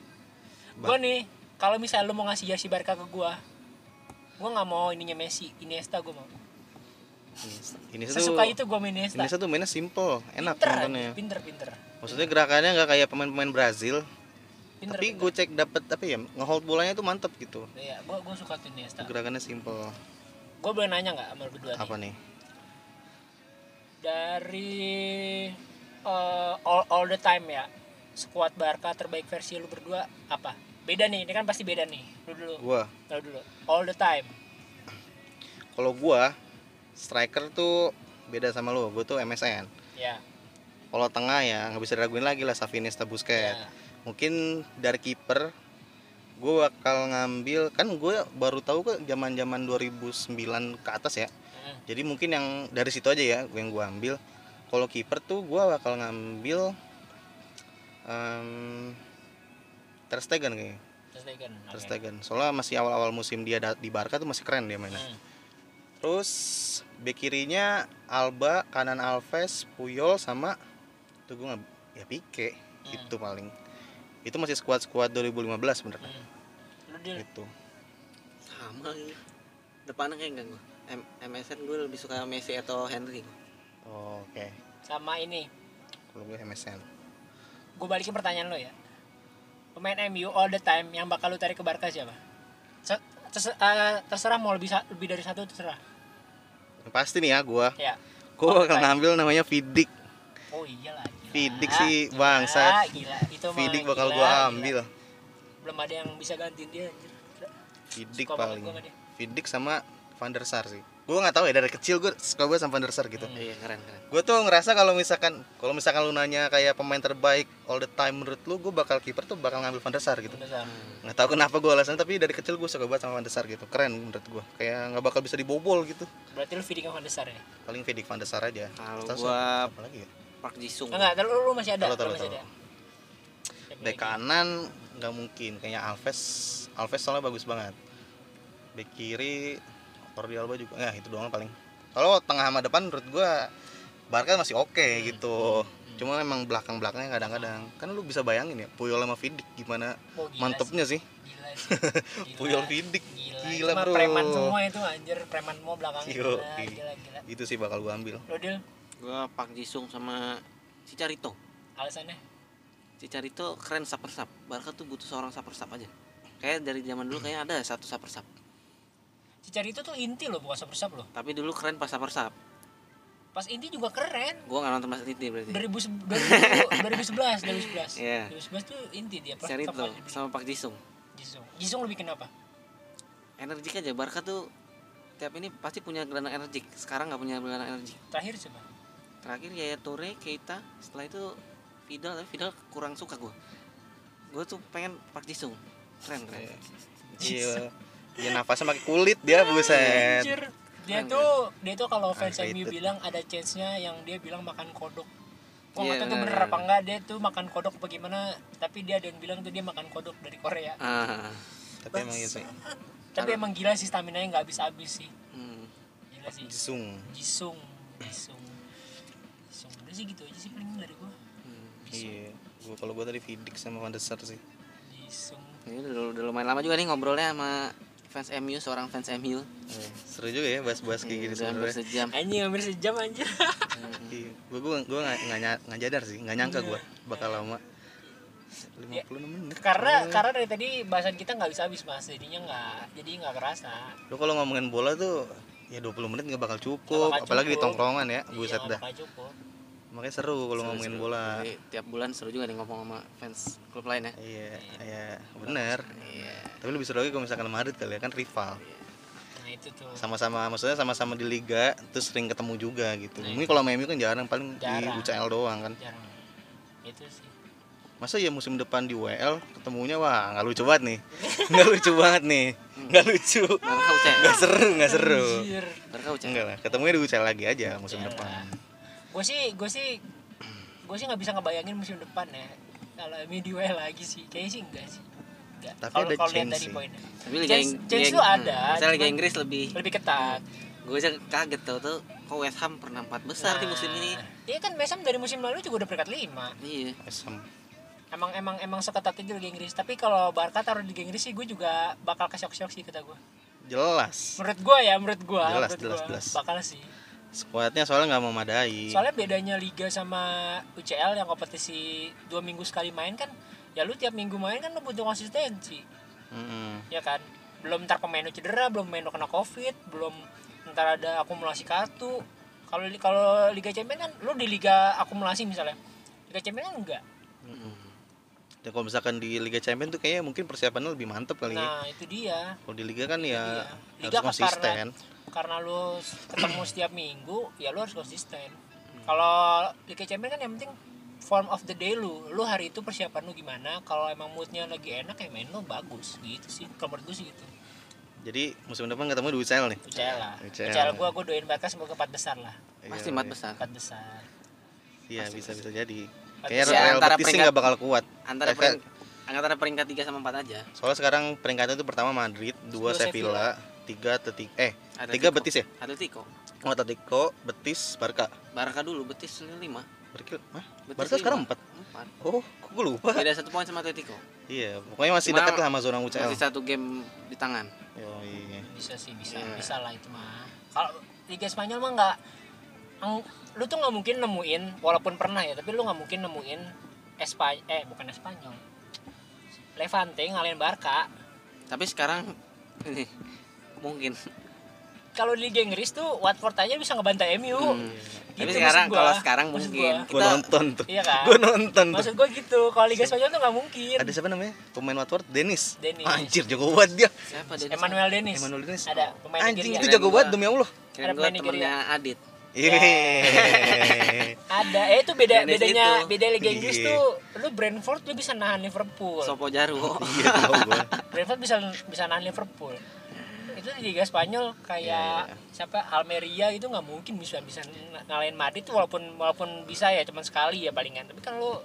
S1: Ba-
S3: Gue nih, kalau misalnya lu mau ngasih jersey Barca ke gua, gua nggak mau ininya Messi, Iniesta gua mau.
S1: ini tuh
S3: Sesuka itu gua sama Iniesta.
S1: ini tuh mainnya simple enak
S3: pinter,
S1: nontonnya
S3: pinter, pinter.
S1: maksudnya gerakannya nggak kayak pemain-pemain Brazil
S3: Pinter.
S1: tapi
S3: pinter.
S1: gue cek dapet apa ya ngehold bolanya tuh mantep gitu
S3: Iya, gua gua suka tuh Iniesta.
S1: gerakannya simple
S3: Gua boleh nanya nggak sama lu berdua?
S1: apa
S3: Nih?
S1: nih
S3: Dari eh, all, all the time ya, squad Barca terbaik versi lu berdua apa? Beda nih, ini kan pasti beda nih. Lu dulu,
S1: gua
S3: lu dulu. All the time.
S1: kalau gua striker tuh beda sama lu gua tuh MSN
S3: Ya.
S1: kalau tengah ya nggak bisa diraguin lagi lah Savinista Busquets
S3: ya.
S1: mungkin dari kiper gue bakal ngambil kan gue baru tahu ke zaman zaman 2009 ke atas ya
S3: Hmm.
S1: jadi mungkin yang dari situ aja ya yang gue ambil kalau kiper tuh gue bakal ngambil em Ter Stegen kayaknya
S3: Ter Stegen, oke.
S1: Ter Stegen soalnya masih awal awal musim dia da- di Barca tuh masih keren dia mainnya
S3: Hmm.
S1: terus bek kirinya Alba kanan Alves Puyol sama tuh gue ya Pique
S3: Hmm.
S1: itu paling itu masih squad squad 2015 sebenarnya
S3: Hmm. Lu Dil,
S1: itu
S2: Sama lagi. Depannya kayak enggak gua. M- MSN gue lebih suka Messi atau Henry.
S1: oke
S3: sama ini
S1: kalau gue MSN
S3: gue balikin pertanyaan lo ya pemain MU all the time yang bakal lu tarik ke Barca siapa Se- terse- eh, terserah mau lebih sa- lebih dari satu terserah
S1: Yang pasti nih ya gue
S3: ya
S1: gue
S3: Oh,
S1: bakal
S3: baik.
S1: ngambil namanya Vidic
S3: oh iyalah gila.
S1: Vidic sih,
S3: Gila,
S1: bangsat.
S3: gila itu mah
S1: Vidic bakal
S3: gila,
S1: gue
S3: gila.
S1: ambil
S3: belum ada yang bisa gantiin dia anjir.
S1: Vidic
S3: Suka banget
S1: paling
S3: gua sama dia.
S1: Vidic sama Van der Sar sih gue nggak tahu ya dari kecil gue suka banget sama Van der Sar gitu
S2: Iya keren keren.
S1: gue tuh ngerasa kalau misalkan kalau misalkan lu nanya kayak pemain terbaik all the time menurut lu gue bakal kiper tuh bakal ngambil Van der Sar gitu
S3: Udah sama.
S1: nggak tahu kenapa gue alasan tapi dari kecil gue suka banget sama Van der Sar gitu keren menurut gue kayak nggak bakal bisa dibobol gitu
S3: Berarti lu feeding sama Desar ya?
S1: paling Fedik Van der Sar aja
S2: Kalau
S1: Terus
S2: gua-
S1: apa lagi ya
S2: Park Jisung.
S3: Enggak, terus lu, lu masih ada.
S1: Taruh,
S3: lu
S1: taruh,
S3: masih ada.
S1: taruh. bek kanan nggak mungkin kayaknya Alves Alves soalnya bagus banget bek kiri Jordi Alba juga ya itu doang paling kalau tengah sama depan menurut gua Barca masih oke
S3: Hmm.
S1: gitu cuma emang belakang belakangnya kadang-kadang kan lu bisa bayangin ya Puyol sama Vidic gimana
S3: Oh, gila
S1: mantepnya sih
S3: sih, Gila. sih. Gila.
S1: Puyol Vidic
S3: Gila,
S1: gila,
S3: Cuma
S1: bro
S3: preman semua itu anjir, preman semua belakang.
S1: Yo, iya.
S3: Gila,
S1: i.
S3: gila, gila.
S1: itu sih bakal gua ambil
S3: Lu deal
S2: Gua Park Jisung sama si Carito.
S3: alasannya?
S2: Si Carito keren saper sap. Barca tuh butuh seorang saper sap aja. Kayak dari zaman dulu kayak ada satu saper sap.
S3: Cicari itu tuh inti loh, bukan sub-sub loh.
S2: Tapi dulu keren pas saper sap.
S3: Pas inti juga keren.
S2: Gua nggak nonton pas itu berarti.
S3: 2000, 2011 2011
S2: Iya.
S3: 2011 tuh inti dia
S2: Si Carito sama Park Jisung.
S3: Jisung Jisung lebih kenapa
S2: Energik aja Barca tuh tiap ini pasti punya gelandang energik. Sekarang nggak punya gelandang energik.
S3: terakhir coba
S2: terakhir Yaya Toure, Keita, setelah itu Fidel, tapi Fidel kurang suka gue. Gue tuh pengen Park Jisung, keren keren.
S1: Iya. iya dia nafasnya pakai kulit dia buset
S3: Anjir. dia
S2: Keren, Ah,
S3: tuh dia tuh kalau fans
S1: I hate
S3: MU
S1: it.
S3: bilang ada chance nya yang dia bilang makan kodok Gua
S2: Iya,
S3: nggak tahu tuh
S2: bener,
S3: bener
S2: bener.
S3: apa enggak dia tuh makan kodok bagaimana tapi dia ada yang bilang tuh dia makan kodok dari Korea
S2: Ah,
S1: tapi emang iya itu
S3: tapi emang gila sih stamina nya nggak habis habis sih
S2: hmm.
S3: gila sih
S1: Jisung
S3: Jisung Jisung Jisung udah sih gitu aja sih paling dari gua
S2: hmm.
S1: iya gua kalau gua tadi Vidic sama Van der Sar sih
S3: Jisung
S2: Ini udah, udah lumayan lama juga nih ngobrolnya sama fans MU, seorang fans MU.
S1: Eh, seru juga ya bahas-bahas kayak
S2: Iya,
S1: gini
S2: udah hampir
S1: sebenarnya.
S2: sejam.
S3: anjing hampir sejam anjir
S1: Iya, gue gue gue nggak nggak nya- nggak nyadar sih, nggak nyangka gue bakal lama. 56 menit.
S3: karena karena dari tadi bahasan kita nggak bisa habis mas jadinya nggak jadi nggak kerasa
S1: Lu kalau ngomongin bola tuh ya 20 menit nggak bakal cukup,
S3: Nggak bakal
S1: apalagi di
S3: cukup.
S1: tongkrongan ya, buset
S3: Iya,
S1: dah.
S3: nggak cukup
S1: Makanya seru kalau ngomongin bola.
S2: Jadi, tiap bulan seru juga nih ngomong sama fans klub lain ya.
S1: Iya, iya, bener.
S2: Iya.
S1: Tapi lebih seru lagi kalau misalkan Madrid kali ya kan rival.
S3: nah itu tuh
S1: Sama-sama maksudnya sama-sama di liga terus sering ketemu juga gitu. Ini kalau sama MU kan jarang paling di
S3: Jarang.
S1: UCL doang kan.
S3: jarang itu sih
S1: masa ya musim depan di WL ketemunya wah nggak lucu banget nih nggak lucu banget nih nggak lucu
S2: Barca UCL.
S1: nggak seru nggak seru
S2: Barca UCL.
S1: enggak lah ketemunya di UCL lagi aja musim depan
S3: gue sih gue sih gue sih nggak bisa ngebayangin musim depan ya kalau media lagi sih kayaknya sih enggak sih Enggak.
S1: Tapi
S3: kalau
S1: ada
S3: kalau lihat
S1: chance
S3: dari
S1: sih.
S3: poinnya
S2: Tapi Liga
S3: Chance-
S2: Ing-
S3: chance
S2: Liga-
S3: lu ada,
S2: hmm. Misalnya Liga
S3: cuman-
S2: Inggris lebih
S3: lebih ketat
S2: gue aja kaget tau tuh kok West Ham pernah empat besar di musim ini.
S3: Iya kan Mesam dari musim lalu juga udah peringkat 5
S2: Iya.
S1: Asem.
S3: Emang emang emang seketat itu Liga Inggris Tapi kalau Barca taruh di Liga Inggris sih gue juga bakal kesyok-syok sih kata gue
S1: jelas
S3: Menurut gue ya, menurut gue
S1: Jelas,
S3: menurut
S1: jelas,
S3: gua.
S1: jelas. Iya.
S3: Bakal sih
S1: skuadnya soalnya nggak memadai
S3: Soalnya bedanya Liga sama UCL yang kompetisi dua minggu sekali main kan Ya lu tiap minggu main kan lu butuh konsistensi
S1: Mm-mm.
S3: Ya kan Belum ntar pemain lu cedera, belum pemain lu kena covid Belum ntar ada akumulasi kartu Kalau kalau Liga Champions kan lu di Liga akumulasi misalnya Liga Champions kan enggak
S1: dan Ya, kalau misalkan di Liga Champions tuh kayaknya mungkin persiapannya lebih mantep kali ya
S3: Nah itu dia
S1: kalau di Liga kan ya
S3: Iya.
S1: harus
S3: kan
S1: konsisten
S3: karena, karena lu ketemu setiap minggu ya lu harus konsisten kalau Liga Champions kan yang penting form of the day lu lu hari itu persiapan lu gimana kalau emang moodnya lagi enak ya main lu bagus gitu sih kalau menurut gue sih gitu
S1: jadi musim depan ketemu di UCL nih
S3: UCL lah
S1: UCL.
S3: UCL gue gue doain Barca semoga empat besar lah
S1: Iya,
S2: Pasti empat
S1: iya.
S2: besar.
S3: empat besar
S1: iya bisa bisa jadi
S3: Ya,
S1: kayaknya Real Betis
S2: antara
S1: sih
S2: peringkat-
S1: nggak bakal kuat
S2: antara
S1: Kayak-
S2: peringkat antara Eh, peringkat 3 sama 4 aja.
S1: Soalnya sekarang peringkatnya itu pertama Madrid, dua
S3: Dua
S1: Sevilla, tiga Atletico, eh
S2: Atletico.
S1: tiga Betis ya?
S2: Atletico.
S1: Oh, Atletico, Betis, Barca.
S2: Barca dulu Betis 5.
S1: Berarti, Hah?
S2: Betis
S1: Barca sekarang empat.
S2: 4.
S1: Oh, kok gue lupa?
S2: Beda satu poin sama Atletico.
S1: Iya, pokoknya masih
S2: Cuma-
S1: dekat lah sama zona UCL.
S2: Masih satu game di tangan.
S1: Oh, iya.
S3: bisa sih bisa
S2: Iya.
S3: bisa lah itu mah kalau Liga Spanyol mah nggak ang- lu tuh nggak mungkin nemuin walaupun pernah ya tapi lu nggak mungkin nemuin Espanyol eh bukan Espanyol Levante ngalahin Barca
S2: Tapi sekarang ini mungkin.
S3: kalau di Liga Inggris tuh Watford aja bisa ngebantai MU
S2: Hmm. Tapi
S3: Gitu
S2: sekarang
S3: maksud gua.
S2: kalau sekarang
S3: Maksud
S2: mungkin
S1: Gue
S2: kita
S1: nonton tuh.
S3: iya kan
S1: Gue nonton tuh.
S3: maksud gue gitu kalau Liga Spanyol tuh nggak mungkin
S1: Ada siapa namanya? Pemain Watford, Dennis.
S3: Dennis.
S1: Anjir, jago banget dia.
S2: siapa Dennis?
S3: Emmanuel Dennis
S1: Emmanuel Dennis.
S3: ada pemain
S1: Anjing itu
S3: Nigeria
S1: jago
S2: Keren
S1: banget
S2: gua.
S1: demi Allah.
S2: Kirain
S3: Ada ya?
S2: gue
S3: pemain
S2: temennya Adit
S1: Yeay.
S3: ada eh itu beda
S2: Dennis
S3: bedanya
S2: itu.
S3: beda Liga Inggris
S1: Iya.
S3: tuh lu Brentford lu bisa nahan Liverpool
S2: Sopo Jarwo
S1: Iya tahu gua.
S3: Brentford bisa bisa nahan Liverpool itu Liga Spanyol
S1: Iya,
S3: kayak siapa Almeria itu nggak mungkin bisa bisa ng- ngalahin Madrid tuh walaupun walaupun bisa ya cuman sekali ya palingan tapi kan lu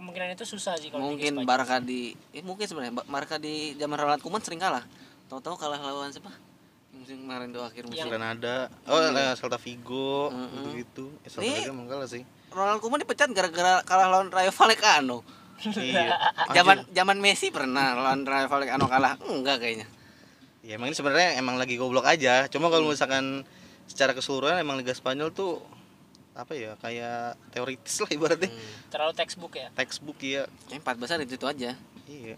S3: kemungkinan itu susah sih kalau Liga
S2: mungkin
S3: Spanyol.
S2: Barca di eh, mungkin sebenarnya Ba- Barca di zaman Ronald Koeman sering kalah tahu-tahu kalah lawan siapa Yang musim kemarin tuh akhir musim
S3: Iya.
S1: Granada. Oh, eh, Celta Vigo
S2: Mm-mm.
S1: gitu. Eh, Celta
S2: Hmm. Nih.
S1: Vigo emang kalah sih.
S2: Ronald Koeman dipecat gara-gara kalah lawan Rayo Vallecano
S1: Iya.
S2: zaman zaman Messi pernah lawan Rayo Vallecano kalah enggak kayaknya
S1: Ya emang ini sebenarnya emang lagi goblok aja. Cuma
S3: Hmm.
S1: kalau misalkan secara keseluruhan emang Liga Spanyol tuh apa ya kayak teoritis lah ibaratnya.
S3: Hmm. terlalu textbook ya
S1: Textbook ya.
S2: Kayaknya empat besar itu, itu aja
S1: Iya.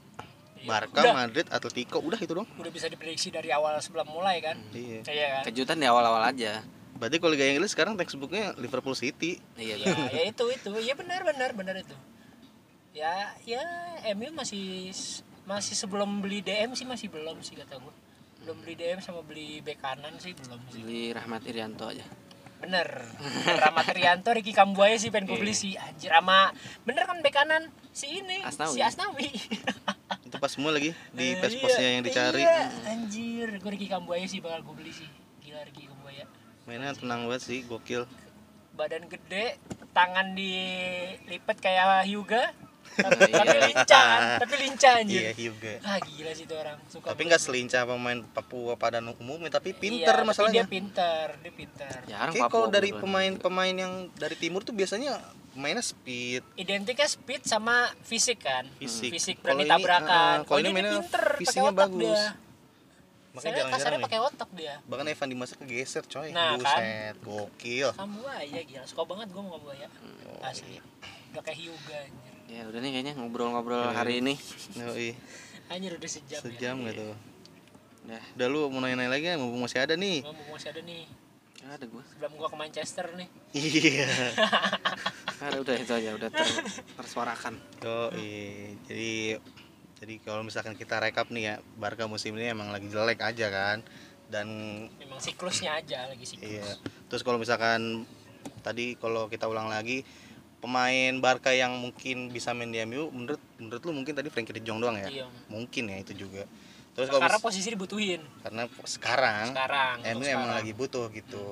S3: Iya.
S1: Barca,
S3: udah,
S1: Madrid, Atletico udah itu dong.
S3: udah bisa diprediksi dari awal sebelum mulai kan
S1: Iya.
S3: iya kan
S2: kejutan di awal-awal aja
S1: Berarti kalau Liga Inggris sekarang textbooknya Liverpool City.
S2: iya
S3: ya, ya itu itu ya benar benar benar itu ya ya MU masih masih sebelum beli DM sih masih belum sih kata gue belum beli DM sama beli bek kanan sih belum sih
S2: beli Rahmat Irianto aja
S3: bener Rama Trianto Ricky Kambuaya sih pengen gue beli
S1: Iya.
S3: sih anjir sama bener kan bek kanan si ini
S2: Asnawi.
S3: si Asnawi
S1: Itu pas semua lagi di
S3: Eh,
S1: pos-posnya
S3: iya,
S1: yang dicari.
S3: iya, anjir gue Ricky Kambuaya sih bakal gue beli sih gila Ricky Kambuaya
S1: Mainnya tenang banget sih, gokil.
S3: badan gede tangan dilipet kayak Hyuga tapi,
S2: Iya.
S3: tapi lincah kan? tapi lincah anjir
S1: Iya juga.
S3: ah gila sih itu orang suka
S1: Tapi nggak selincah pemain Papua pada umumnya, tapi
S3: Iya,
S1: pinter
S3: tapi
S1: masalahnya.
S3: dia pinter dia pinter
S2: jarang
S1: Kayak
S2: Papua
S1: kalau dari
S2: bukan.
S1: pemain-pemain yang dari timur tuh biasanya mainnya speed,
S3: identiknya speed sama fisik kan
S1: fisik.
S3: fisik
S1: Kalau
S3: berani
S1: ini,
S3: tabrakan
S1: ah, kalau ini
S3: dia
S1: mainnya
S3: pinter pakai
S1: fisiknya
S3: otak
S1: bagus.
S3: dia
S1: Makanya ya.
S3: Soalnya kasarnya
S1: jarang-jarang nih.
S3: pakai otak dia
S1: Bahkan Evan Dimas kegeser coy.
S3: Nah, kan.
S1: Buset, gokil.
S3: kamu aja gila suka banget gue mau kamu ya
S1: Oh, iya.
S3: asli udah kayak Hyuga anjir
S2: ya udah nih kayaknya
S1: Iya,
S2: ngobrol-ngobrol hari ini
S3: ya.
S1: Yoi,
S3: anjir udah sejam, ya
S1: sejam gitu.
S2: Dah.
S1: Udah lu mau nanya-nanya lagi nggak? Mumpung masih ada nih.
S3: Gua mau masih ada nih
S2: Nggak ada gua
S3: sebelum gua ke Manchester nih
S1: Iya.
S2: Nggak ada Ah, udah itu aja udah ter- tersuarakan
S1: Yoi. Jadi jadi kalau misalkan kita rekap nih ya, Barca musim ini emang lagi jelek aja kan. Dan
S3: memang siklusnya aja lagi siklus
S1: Iya. Terus kalau misalkan tadi kalau kita ulang lagi pemain Barca yang mungkin bisa main di MU menurut menurut lu mungkin tadi Frankie de Jong doang ya?
S3: Iya.
S1: Mungkin ya itu juga. Terus kalau
S3: karena
S1: mis-
S3: posisi dibutuhin
S1: karena sekarang,
S3: sekarang
S1: MU
S3: untuk
S1: emang
S3: sekarang.
S1: lagi butuh gitu.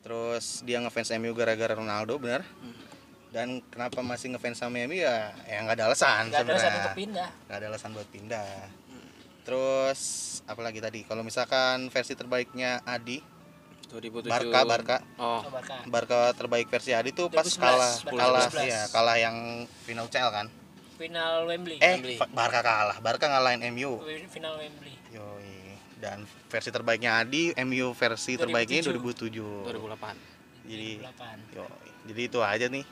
S1: Terus dia ngefans MU gara-gara Ronaldo benar?
S3: Hmm.
S1: Dan kenapa masih ngefans sama MU ya? Ya nggak ada alasan
S3: nggak ada alasan
S1: sebenarnya
S3: untuk pindah Hmm.
S1: nggak ada alasan buat pindah terus apalagi tadi kalau misalkan versi terbaiknya Adi
S2: 2007
S1: Barca Barca
S2: oh
S3: Coba kan.
S1: Barca terbaik versi Adi tuh pas
S3: 2011,
S1: kalah
S3: Barca
S1: kalah
S3: 2011.
S1: iya, kalah yang final CL kan
S3: final Iya, Wembley
S1: eh
S2: Wembley.
S1: fa- Barca kalah Barca ngalahin MU
S3: Wem- final Wembley
S1: Yoi. dan versi terbaiknya Adi MU versi terbaiknya 2007
S2: 2008
S1: jadi
S3: 2008
S1: yoi. jadi itu aja nih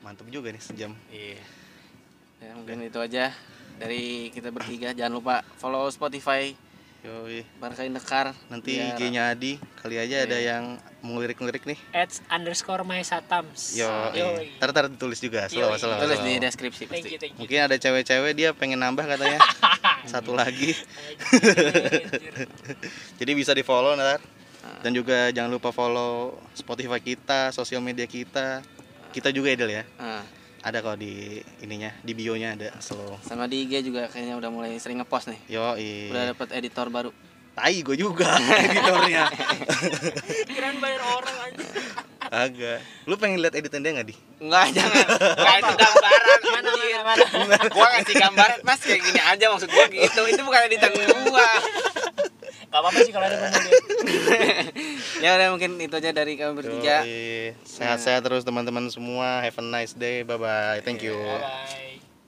S1: mantep juga nih sejam
S2: Iya. Ya, mungkin itu aja dari kita bertiga. Jangan lupa follow Spotify
S1: Yoi.
S2: Barkai Nekar.
S1: nanti
S2: Biar-
S1: IG-nya Adi kali aja
S2: Iya.
S1: ada yang melirik-lirik nih
S3: Ads underscore my satams
S1: Yo,
S3: Yoi.
S1: ntar ntar ditulis juga, slow,
S3: Yoi.
S1: slow,
S2: tulis
S1: slow.
S2: di deskripsi
S3: thank
S2: pasti.
S3: you thank you
S1: Mungkin ada cewek-cewek dia pengen nambah katanya satu lagi,
S3: Anjir.
S1: jadi bisa di follow ntar. Dan
S2: Ah.
S1: juga jangan lupa follow Spotify kita, sosial media kita, kita juga Edel ya.
S2: Ah,
S1: Ada kok di ininya, di bio-nya ada slow.
S2: sama di IG juga kayaknya udah mulai sering ngepost nih.
S1: Yo,
S2: Udah dapat editor baru.
S1: tai gue juga editornya.
S3: kirain bayar orang aja
S1: Agak. Lu pengen lihat editan dia nggak di?
S2: Enggak, jangan. Enggak itu gambaran
S3: mana
S2: anjir.
S3: mana mana
S2: Gua ngasih gambaran, Mas kayak gini aja maksud gua gitu. Itu bukan editan gua.
S3: nggak apa-apa sih kalau ada bener
S2: ya udah mungkin itu aja dari kami bertiga.
S3: Iya.
S1: Yoi. Sehat-sehat terus teman-teman semua. Have a nice day. Bye bye. Thank you.
S3: bye